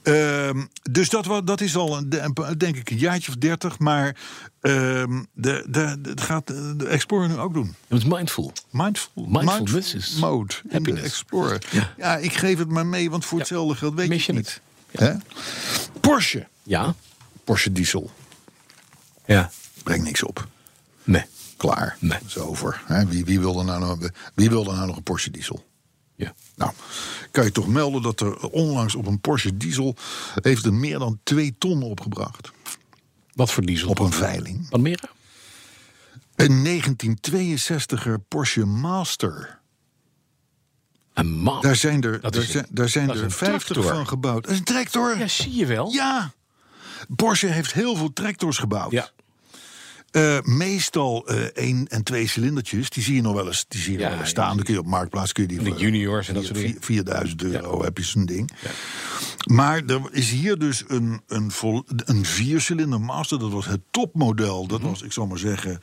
Speaker 3: Ehm, dus dat, wa- dat is al, een, de- denk ik, een jaartje of dertig. Maar ehm, de, de, de, het gaat eh, de Explorer nu ook doen.
Speaker 2: Het is mindful.
Speaker 3: Mindful,
Speaker 2: Mindfulness
Speaker 3: mindful
Speaker 2: is
Speaker 3: mode in de
Speaker 2: happiness.
Speaker 3: Explorer. Ja.
Speaker 2: Ja.
Speaker 3: ik geef het maar mee, want voor
Speaker 2: Ja.
Speaker 3: hetzelfde geld weet
Speaker 2: Mis
Speaker 3: je
Speaker 2: je
Speaker 3: het niet. Hè? Porsche.
Speaker 2: Ja?
Speaker 3: Porsche diesel.
Speaker 2: Ja.
Speaker 3: Brengt niks op.
Speaker 2: Nee.
Speaker 3: Klaar.
Speaker 2: Nee.
Speaker 3: Dat is over. Hè? Wie, wie, wil er nou nog, wie wil er nou nog een Porsche diesel?
Speaker 2: Ja.
Speaker 3: Nou, kan je toch melden dat er onlangs op een Porsche diesel... heeft er meer dan twee ton opgebracht.
Speaker 2: Wat voor diesel?
Speaker 3: Op een veiling.
Speaker 2: Panmera?
Speaker 3: Een 1962er Porsche Master.
Speaker 2: Een man.
Speaker 3: Daar zijn er,
Speaker 2: Dat
Speaker 3: daar
Speaker 2: is
Speaker 3: zijn,
Speaker 2: het.
Speaker 3: daar zijn
Speaker 2: Dat is
Speaker 3: er
Speaker 2: een
Speaker 3: 50
Speaker 2: tractor.
Speaker 3: van gebouwd. Dat is een tractor.
Speaker 2: Ja,
Speaker 3: Ja.
Speaker 2: zie je wel.
Speaker 3: Porsche heeft heel veel tractors gebouwd.
Speaker 2: Ja.
Speaker 3: Eh, meestal eh één en twee cilindertjes. Die zie je nog wel eens, die zie je
Speaker 2: Ja,
Speaker 3: wel eens
Speaker 2: ja,
Speaker 3: staan. Dan kun je op Marktplaats kun je die
Speaker 2: En de
Speaker 3: voor-
Speaker 2: juniors en dat soort
Speaker 3: vier-
Speaker 2: dingen.
Speaker 3: 4000 euro heb je zo'n ding. Maar er is hier dus een, een, vol, een viercilinder Master. Dat was het topmodel. Dat was, ik zal maar zeggen,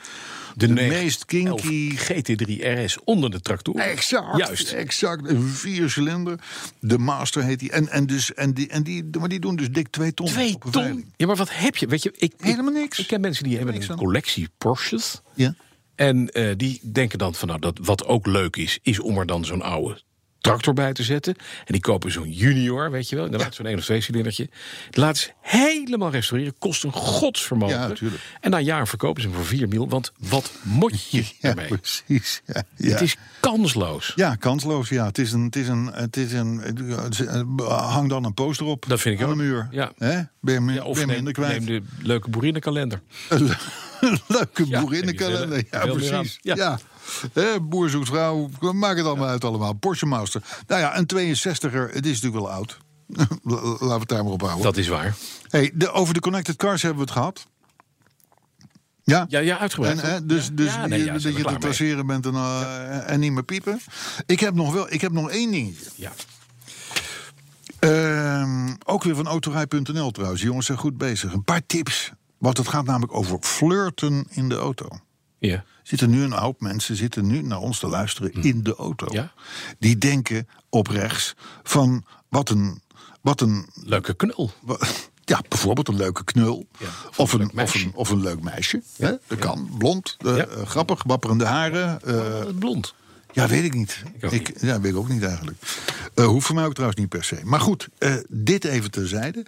Speaker 3: de,
Speaker 2: Mhm. negen-
Speaker 3: meest kinky...
Speaker 2: elf GT3 RS onder de tractor.
Speaker 3: Exact.
Speaker 2: Juist.
Speaker 3: Exact. Een viercilinder. De Master heet die. En, en, dus, en, die, en die, maar die doen dus dik twee ton.
Speaker 2: Twee
Speaker 3: op een
Speaker 2: ton.
Speaker 3: veiling.
Speaker 2: Ja, maar wat heb je? Weet je, ik, ik-
Speaker 3: Helemaal niks.
Speaker 2: Ik ken mensen die hebben
Speaker 3: niks
Speaker 2: een
Speaker 3: aan.
Speaker 2: collectie Porsches.
Speaker 3: Ja.
Speaker 2: En eh, die denken dan van nou, dat wat ook leuk is, is om er dan zo'n oude tractor bij te zetten. En die kopen zo'n junior, weet je wel. Inderdaad, zo'n 1 of 2 cilindertje. Die laten ze helemaal restaureren. Kost een godsvermogen.
Speaker 3: Ja, tuurlijk.
Speaker 2: En na een jaar verkopen ze hem voor 4 mil. Want wat moet je
Speaker 3: Ja,
Speaker 2: ermee?
Speaker 3: precies. Ja, ja.
Speaker 2: Het is kansloos.
Speaker 3: Ja, kansloos. Ja, het is een, het is een, het is een. eh, Hang dan een poster op.
Speaker 2: Dat vind ik
Speaker 3: aan de
Speaker 2: ook.
Speaker 3: muur.
Speaker 2: Ja.
Speaker 3: Hè? Ben je, mi-
Speaker 2: Ja,
Speaker 3: ben
Speaker 2: of
Speaker 3: je
Speaker 2: neem,
Speaker 3: minder kwijt.
Speaker 2: neem de leuke boerinnenkalender.
Speaker 3: Leuke
Speaker 2: Ja,
Speaker 3: boerinnenkalender.
Speaker 2: neem je
Speaker 3: Ja,
Speaker 2: veel meer
Speaker 3: precies. Ja.
Speaker 2: aan. Ja.
Speaker 3: Hè, boer zoekt vrouw. Maak het allemaal uit allemaal. Porsche Master. Nou ja, een 62er. Het is natuurlijk wel oud. Laten we het daar maar op houden.
Speaker 2: Dat is waar.
Speaker 3: Hey, de, over de connected cars hebben we het gehad. Ja?
Speaker 2: Ja, ja uitgebreid.
Speaker 3: En, hè, dus dus
Speaker 2: Ja, nee,
Speaker 3: je-
Speaker 2: ja,
Speaker 3: dat
Speaker 2: zijn we
Speaker 3: je
Speaker 2: klaar
Speaker 3: te
Speaker 2: mee.
Speaker 3: traceren bent en, eh, en niet meer piepen. Ik heb nog, wel, ik heb nog één dingetje.
Speaker 2: Ja.
Speaker 3: Ehm, ook weer van autorij.nl trouwens. Die jongens zijn goed bezig. Een paar tips. Want het gaat namelijk over flirten in de auto.
Speaker 2: Ja.
Speaker 3: Zitten nu een hoop mensen zitten nu naar ons te luisteren in de auto.
Speaker 2: Hm. Ja.
Speaker 3: Die denken op rechts van wat een, wat een
Speaker 2: Leuke knul.
Speaker 3: Wa- Ja, bijvoorbeeld een leuke knul.
Speaker 2: Ja,
Speaker 3: of, een,
Speaker 2: leuk
Speaker 3: of,
Speaker 2: meisje.
Speaker 3: een, of een leuk meisje. hè? Dat kan. Blond, eh,
Speaker 2: Ja.
Speaker 3: eh, grappig, wapperende haren. eh,
Speaker 2: Het blond.
Speaker 3: ja, weet ik niet.
Speaker 2: Ik ook niet.
Speaker 3: Ja, weet ik ook niet eigenlijk. Eh hoeft voor mij ook trouwens niet per se. Maar goed, eh, dit even terzijde.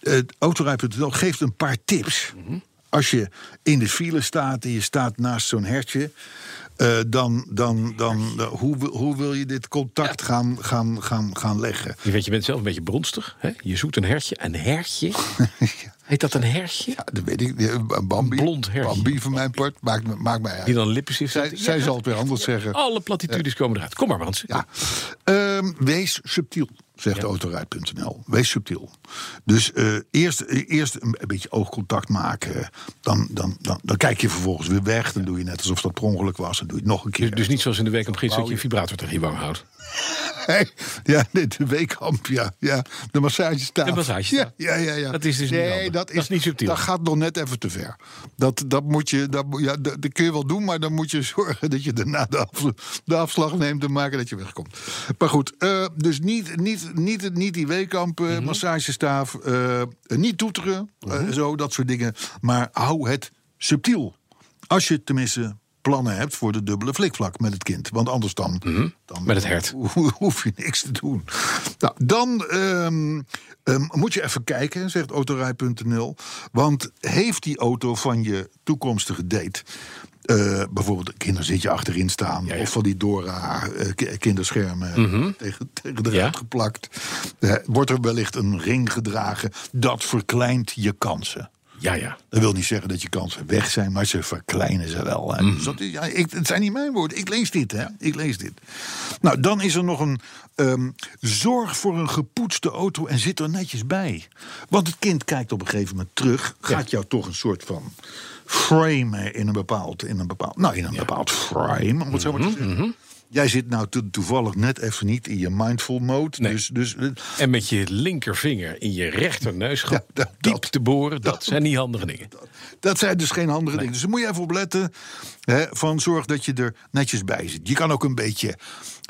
Speaker 3: Eh Autorij.nl geeft een paar tips.
Speaker 2: Mhm.
Speaker 3: Als je in de file staat en je staat naast zo'n hertje... eh, dan, dan, dan, dan- hoe, wil- hoe wil je dit contact gaan, gaan, gaan, gaan leggen?
Speaker 2: Je, weet, je bent zelf een beetje bronstig. Hè? Je zoekt een hertje. Een hertje? Heet dat een hertje?
Speaker 3: Ja, dat weet ik. niet. Een Bambi.
Speaker 2: Een blond hertje.
Speaker 3: Bambi van mijn part. Maakt, me- maakt mij uit.
Speaker 2: Die dan Oh, lippen zich
Speaker 3: zij, zij zal het weer anders zeggen.
Speaker 2: Alle platitudes komen eruit. Kom maar, Bransen.
Speaker 3: Ja. Ehm, wees subtiel, zegt autoruit.nl. Wees subtiel. Dus eh, eerst, eh, eerst een beetje oogcontact maken. Dan, dan, dan, dan kijk je vervolgens weer weg. Dan doe je net alsof dat per ongeluk was. Dan doe je het nog een keer.
Speaker 2: Dus, dus niet zoals in de week om gids dat je een vibrator tegen je wang houdt.
Speaker 3: Hey, ja, nee, de weekkamp, ja, ja. De massagestaaf.
Speaker 2: De massagestaaf.
Speaker 3: Ja, ja, ja, ja.
Speaker 2: Dat is dus niet
Speaker 3: nee,
Speaker 2: handig.
Speaker 3: dat, is,
Speaker 2: Dat is niet subtiel.
Speaker 3: Dat gaat nog net even te ver. Dat, dat, moet je, dat, moet- ja, dat, dat kun je wel doen, maar dan moet je zorgen dat je daarna de, afsl- de afslag neemt en maken dat je wegkomt. Maar goed, eh, dus niet, niet, niet, niet die weekkamp, eh,
Speaker 2: Mhm.
Speaker 3: massagestaaf, eh, niet toeteren, eh, zo, dat soort dingen. Maar hou het subtiel. Als je tenminste plannen hebt voor de dubbele flikvlak met het kind. Want anders dan...
Speaker 2: Mhm.
Speaker 3: dan
Speaker 2: Met het hert.
Speaker 3: hoe- hoef je niks te doen. Nou, dan ehm, ehm, moet je even kijken, zegt autorij.nl. Want heeft die auto van je toekomstige date... eh, bijvoorbeeld een kinderzitje achterin staan...
Speaker 2: Ja, ja.
Speaker 3: of van die Dora eh, ki- kinderschermen tegen, tegen de
Speaker 2: Ja.
Speaker 3: ruit geplakt... eh, wordt er wellicht een ring gedragen. Dat verkleint je kansen.
Speaker 2: Ja, ja.
Speaker 3: Dat wil niet zeggen dat je kansen weg zijn, maar ze verkleinen ze wel. hè. Dus dat, is- ja, ik, het zijn niet mijn woorden. Ik lees dit, hè? Ik lees dit. Nou, dan is er nog een ehm, zorg voor een gepoetste auto en zit er netjes bij. Want het kind kijkt op een gegeven moment terug, gaat jou toch een soort van frame eh, in een bepaald, in een bepaald, nou, in een bepaald frame, om het zo maar te zeggen. Jij zit nou to- toevallig net even niet in je mindful mode.
Speaker 2: Nee.
Speaker 3: Dus, dus eh,
Speaker 2: En met je linkervinger in je rechterneus gaan
Speaker 3: Ja, dat-
Speaker 2: diep
Speaker 3: dat-
Speaker 2: te boren. Dat,
Speaker 3: dat-
Speaker 2: zijn niet handige dingen.
Speaker 3: Dat zijn dus geen handige dingen. Dus daar moet je even op letten. Hè, van zorg dat je er netjes bij zit. Je kan ook een beetje,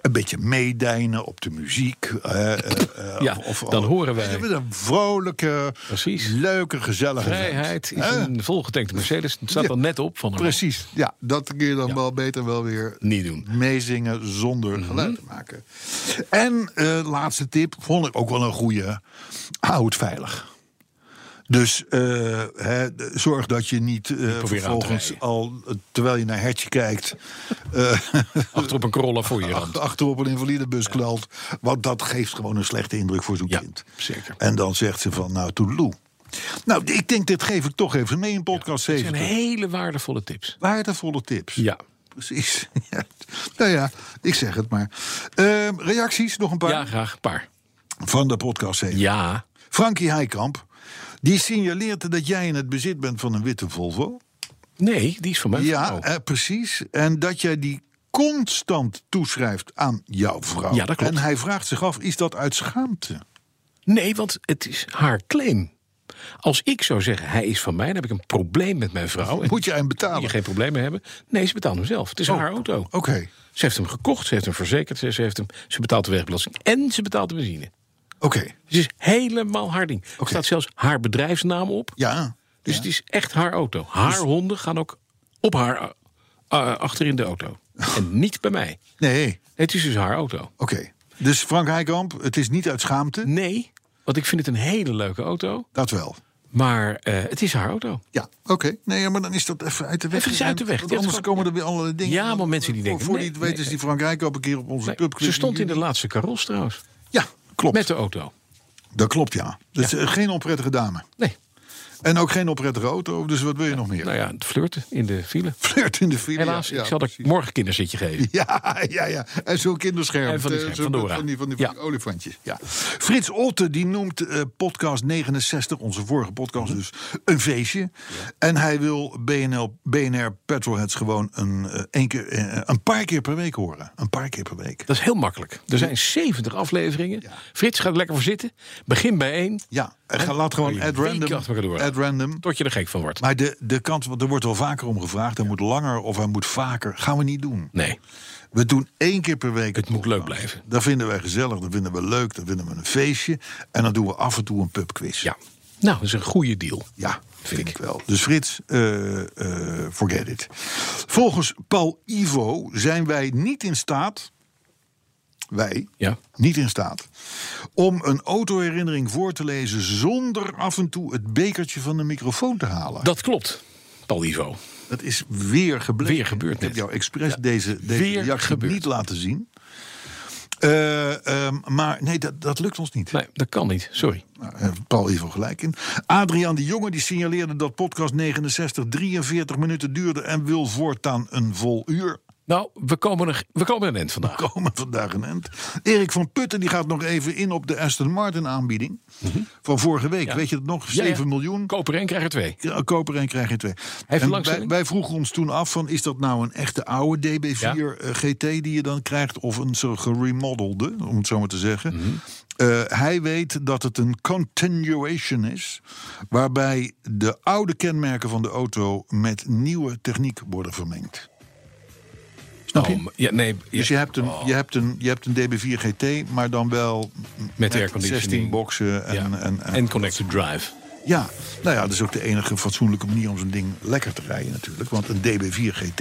Speaker 3: een beetje meedijnen op de muziek. eh, eh, eh,
Speaker 2: Ja, dan horen wij.
Speaker 3: Met een vrolijke,
Speaker 2: Precies.
Speaker 3: leuke, gezellige vent.
Speaker 2: Vrijheid is
Speaker 3: Hè?
Speaker 2: een volgetankte Mercedes. Het staat
Speaker 3: Ja,
Speaker 2: er net op van een
Speaker 3: Precies, ja, dat kun je dan
Speaker 2: Ja.
Speaker 3: wel beter wel weer
Speaker 2: Niet doen. Mhm.
Speaker 3: meezingen zonder geluid te maken. En eh, laatste tip, vond ik ook wel een goede. Hou het veilig. Dus eh, hè, de- zorg dat je niet eh,
Speaker 2: aan te
Speaker 3: vervolgens
Speaker 2: rijden.
Speaker 3: al, eh, terwijl je naar hertje kijkt,
Speaker 2: achter op een Corolla voor je rand.
Speaker 3: achter op een invalidebus knalt. Want dat geeft gewoon een slechte indruk voor zo'n
Speaker 2: Ja,
Speaker 3: kind.
Speaker 2: zeker.
Speaker 3: En dan zegt ze van, nou, toedeloe. Nou, ik denk, dit geef ik toch even mee in podcast
Speaker 2: Het zijn
Speaker 3: 70.
Speaker 2: hele waardevolle tips.
Speaker 3: Waardevolle tips.
Speaker 2: Ja.
Speaker 3: Precies. Ja. Nou ja, ik zeg het maar. Ehm, reacties, nog een paar
Speaker 2: Ja, graag. Een paar.
Speaker 3: van de podcast. even.
Speaker 2: Ja.
Speaker 3: Frankie Heikamp, die signaleert dat jij in het bezit bent van een witte Volvo.
Speaker 2: Nee, die is van mij.
Speaker 3: Ja,
Speaker 2: Oh.
Speaker 3: eh, precies. En dat jij die constant toeschrijft aan jouw vrouw.
Speaker 2: Ja, dat klopt.
Speaker 3: En hij vraagt zich af, is dat uit schaamte?
Speaker 2: Nee, want het is haar claim. Als ik zou zeggen, hij is van mij, dan heb ik een probleem met mijn vrouw. En
Speaker 3: Moet je Oh. hem
Speaker 2: moet je
Speaker 3: betalen?
Speaker 2: geen probleem mee hebben? Nee, ze betaalt hem zelf. Het is haar auto.
Speaker 3: Oké.
Speaker 2: Ze heeft hem gekocht, ze heeft hem verzekerd, ze, ze heeft hem, ze betaalt de wegbelasting en ze betaalt de benzine.
Speaker 3: Oké.
Speaker 2: Het is helemaal haar ding. Er staat zelfs haar bedrijfsnaam op.
Speaker 3: Ja. Dus-
Speaker 2: Dus het is echt haar auto. Haar honden gaan ook op haar eh, eh, achter in de auto.
Speaker 3: Oh.
Speaker 2: en niet bij mij.
Speaker 3: Nee.
Speaker 2: Het is dus haar auto.
Speaker 3: Oké. Dus Frank Heikamp, het is niet uit schaamte?
Speaker 2: Nee, want ik vind het een hele leuke auto.
Speaker 3: Dat wel.
Speaker 2: Maar eh, het is haar auto.
Speaker 3: Ja, oké. Nee, maar dan is dat even uit de weg.
Speaker 2: Even is uit de weg.
Speaker 3: Want
Speaker 2: Ja,
Speaker 3: anders
Speaker 2: het is-
Speaker 3: komen er weer allerlei dingen.
Speaker 2: Ja, maar mensen die
Speaker 3: Voor-
Speaker 2: denken,
Speaker 3: Voor
Speaker 2: nee,
Speaker 3: die het weet
Speaker 2: nee.
Speaker 3: is die Frankrijk op een keer op onze
Speaker 2: Nee,
Speaker 3: pubclub.
Speaker 2: ze stond in de laatste karos trouwens.
Speaker 3: Ja, klopt.
Speaker 2: Met de auto.
Speaker 3: Dat klopt, ja. Dus eh, geen onprettige dame.
Speaker 2: Nee,
Speaker 3: En ook geen onprettige auto, dus wat wil je nog meer?
Speaker 2: nou ja, het flirten in de file.
Speaker 3: Flirt in de file.
Speaker 2: Helaas,
Speaker 3: ja, ja,
Speaker 2: ik zal er
Speaker 3: precies.
Speaker 2: morgen kinderzitje geven.
Speaker 3: Ja, ja, ja. En zo'n kinderscherm.
Speaker 2: En van die
Speaker 3: eh,
Speaker 2: scherm,
Speaker 3: zo'n-
Speaker 2: van Dora.
Speaker 3: Van die, van die, van die
Speaker 2: Ja.
Speaker 3: olifantjes. Ja. Frits Olte die noemt eh, podcast 69, onze vorige
Speaker 2: Mhm.
Speaker 3: podcast dus, een feestje. En hij wil BNL, BNR Petrolheads gewoon een, eh, één keer, eh, een paar keer per week horen. Een paar keer per week.
Speaker 2: Dat is heel makkelijk. Er zijn 70 afleveringen. Frits gaat er lekker voor zitten. Begin bij één.
Speaker 3: Ja, en ga- laat gewoon
Speaker 2: Een
Speaker 3: ad
Speaker 2: week
Speaker 3: random.
Speaker 2: achter elkaar door.
Speaker 3: Ad random.
Speaker 2: Tot je er gek van wordt.
Speaker 3: Maar de, de kans, want er wordt wel vaker om gevraagd. Hij moet langer of hij moet vaker. Gaan we niet doen.
Speaker 2: Nee,
Speaker 3: We doen één keer per week.
Speaker 2: het moet leuk blijven.
Speaker 3: Dat vinden wij gezellig, dat vinden we leuk, dat vinden we een feestje. En dan doen we af en toe een pubquiz.
Speaker 2: Ja. Nou, dat is een goede deal.
Speaker 3: Ja, vind ik wel. Dus Frits, eh, eh, forget it. Volgens Paul Ivo zijn wij niet in staat... wij,
Speaker 2: Ja.
Speaker 3: niet in staat... om een autoherinnering voor te lezen... zonder af en toe het bekertje van de microfoon te halen.
Speaker 2: Dat klopt, Paul Ivo.
Speaker 3: Dat is weer gebleken.
Speaker 2: Weer gebeurd
Speaker 3: Ik heb
Speaker 2: net.
Speaker 3: jou expres deze, deze
Speaker 2: weer
Speaker 3: reactie
Speaker 2: gebeurd.
Speaker 3: niet laten zien. Eh, ehm, maar nee, dat, dat lukt ons niet.
Speaker 2: Nee, dat kan niet. Sorry.
Speaker 3: Nou, eh, Paul heeft wel gelijk in. Adriaan de Jonge die signaleerde dat podcast 69 43 minuten duurde... en wil voortaan een vol uur
Speaker 2: Nou, we komen er, we komen er een eind vandaag.
Speaker 3: komen vandaag een eind. Erik van Putten die gaat nog even in op de Aston Martin aanbieding... van vorige week. Weet je dat nog? 7 miljoen.
Speaker 2: Koper en krijg er twee.
Speaker 3: Ja, Koper en krijg je twee.
Speaker 2: een
Speaker 3: En wij,
Speaker 2: belangstelling?
Speaker 3: wij vroegen ons toen af: van, is dat nou een echte oude DB4 eh, GT die je dan krijgt, of een zo geremodelde, om het zo maar te zeggen?
Speaker 2: Mhm.
Speaker 3: Eh, hij weet dat het een continuation is, waarbij de oude kenmerken van de auto met nieuwe techniek worden vermengd. Snap je?
Speaker 2: Oh, maar- ja, nee, ja. Oh.
Speaker 3: Dus je hebt, een, je, hebt een, je hebt een DB4 GT, maar dan wel
Speaker 2: met
Speaker 3: met
Speaker 2: airconditioning.
Speaker 3: 16 boxen en,
Speaker 2: Oh, Ja.
Speaker 3: en, en
Speaker 2: en connected drive.
Speaker 3: ja, nou ja, dat is ook de enige fatsoenlijke manier om zo'n ding lekker te rijden natuurlijk. Want een DB4 GT,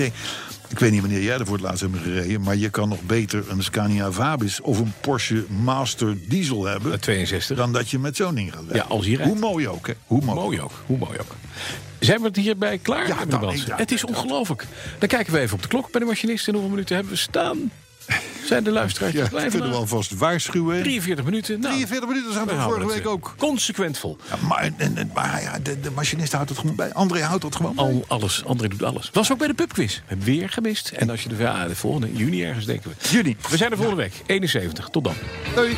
Speaker 3: ik weet niet wanneer jij er voor het laatst hebt gereden... maar je kan nog beter een Scania Vabis of een Porsche Master Diesel hebben...
Speaker 2: Met 62.
Speaker 3: dan dat je met zo'n ding gaat rijden.
Speaker 2: Ja, als je rijdt.
Speaker 3: Hoe mooi ook, hè? Hoe mooi.
Speaker 2: Mooi ook, hoe mooi ook. Zijn we het hierbij klaar?
Speaker 3: Ja,
Speaker 2: meneer
Speaker 3: dan-
Speaker 2: Bransen?
Speaker 3: ja,
Speaker 2: het is ongelooflijk. Dan kijken we even op de klok bij de machinist en hoeveel minuten hebben we staan. Zijn de luisteraars
Speaker 3: Ja,
Speaker 2: ja,
Speaker 3: dat kunnen we alvast waarschuwen.
Speaker 2: 43 minuten. Nou,
Speaker 3: 43 minuten zijn we
Speaker 2: daar houden
Speaker 3: vorige
Speaker 2: het,
Speaker 3: week
Speaker 2: eh,
Speaker 3: ook.
Speaker 2: Consequent vol.
Speaker 3: Ja, maar en- en- maar ja, de, de machinist houdt het gewoon bij. André houdt dat gewoon bij.
Speaker 2: Al alles, André doet alles. Was ook bij de pubquiz. We hebben weer gemist. En als je de, ja, de volgende, juni ergens denken we.
Speaker 3: Juni.
Speaker 2: We zijn er volgende week, 71. Tot dan.
Speaker 3: Doei.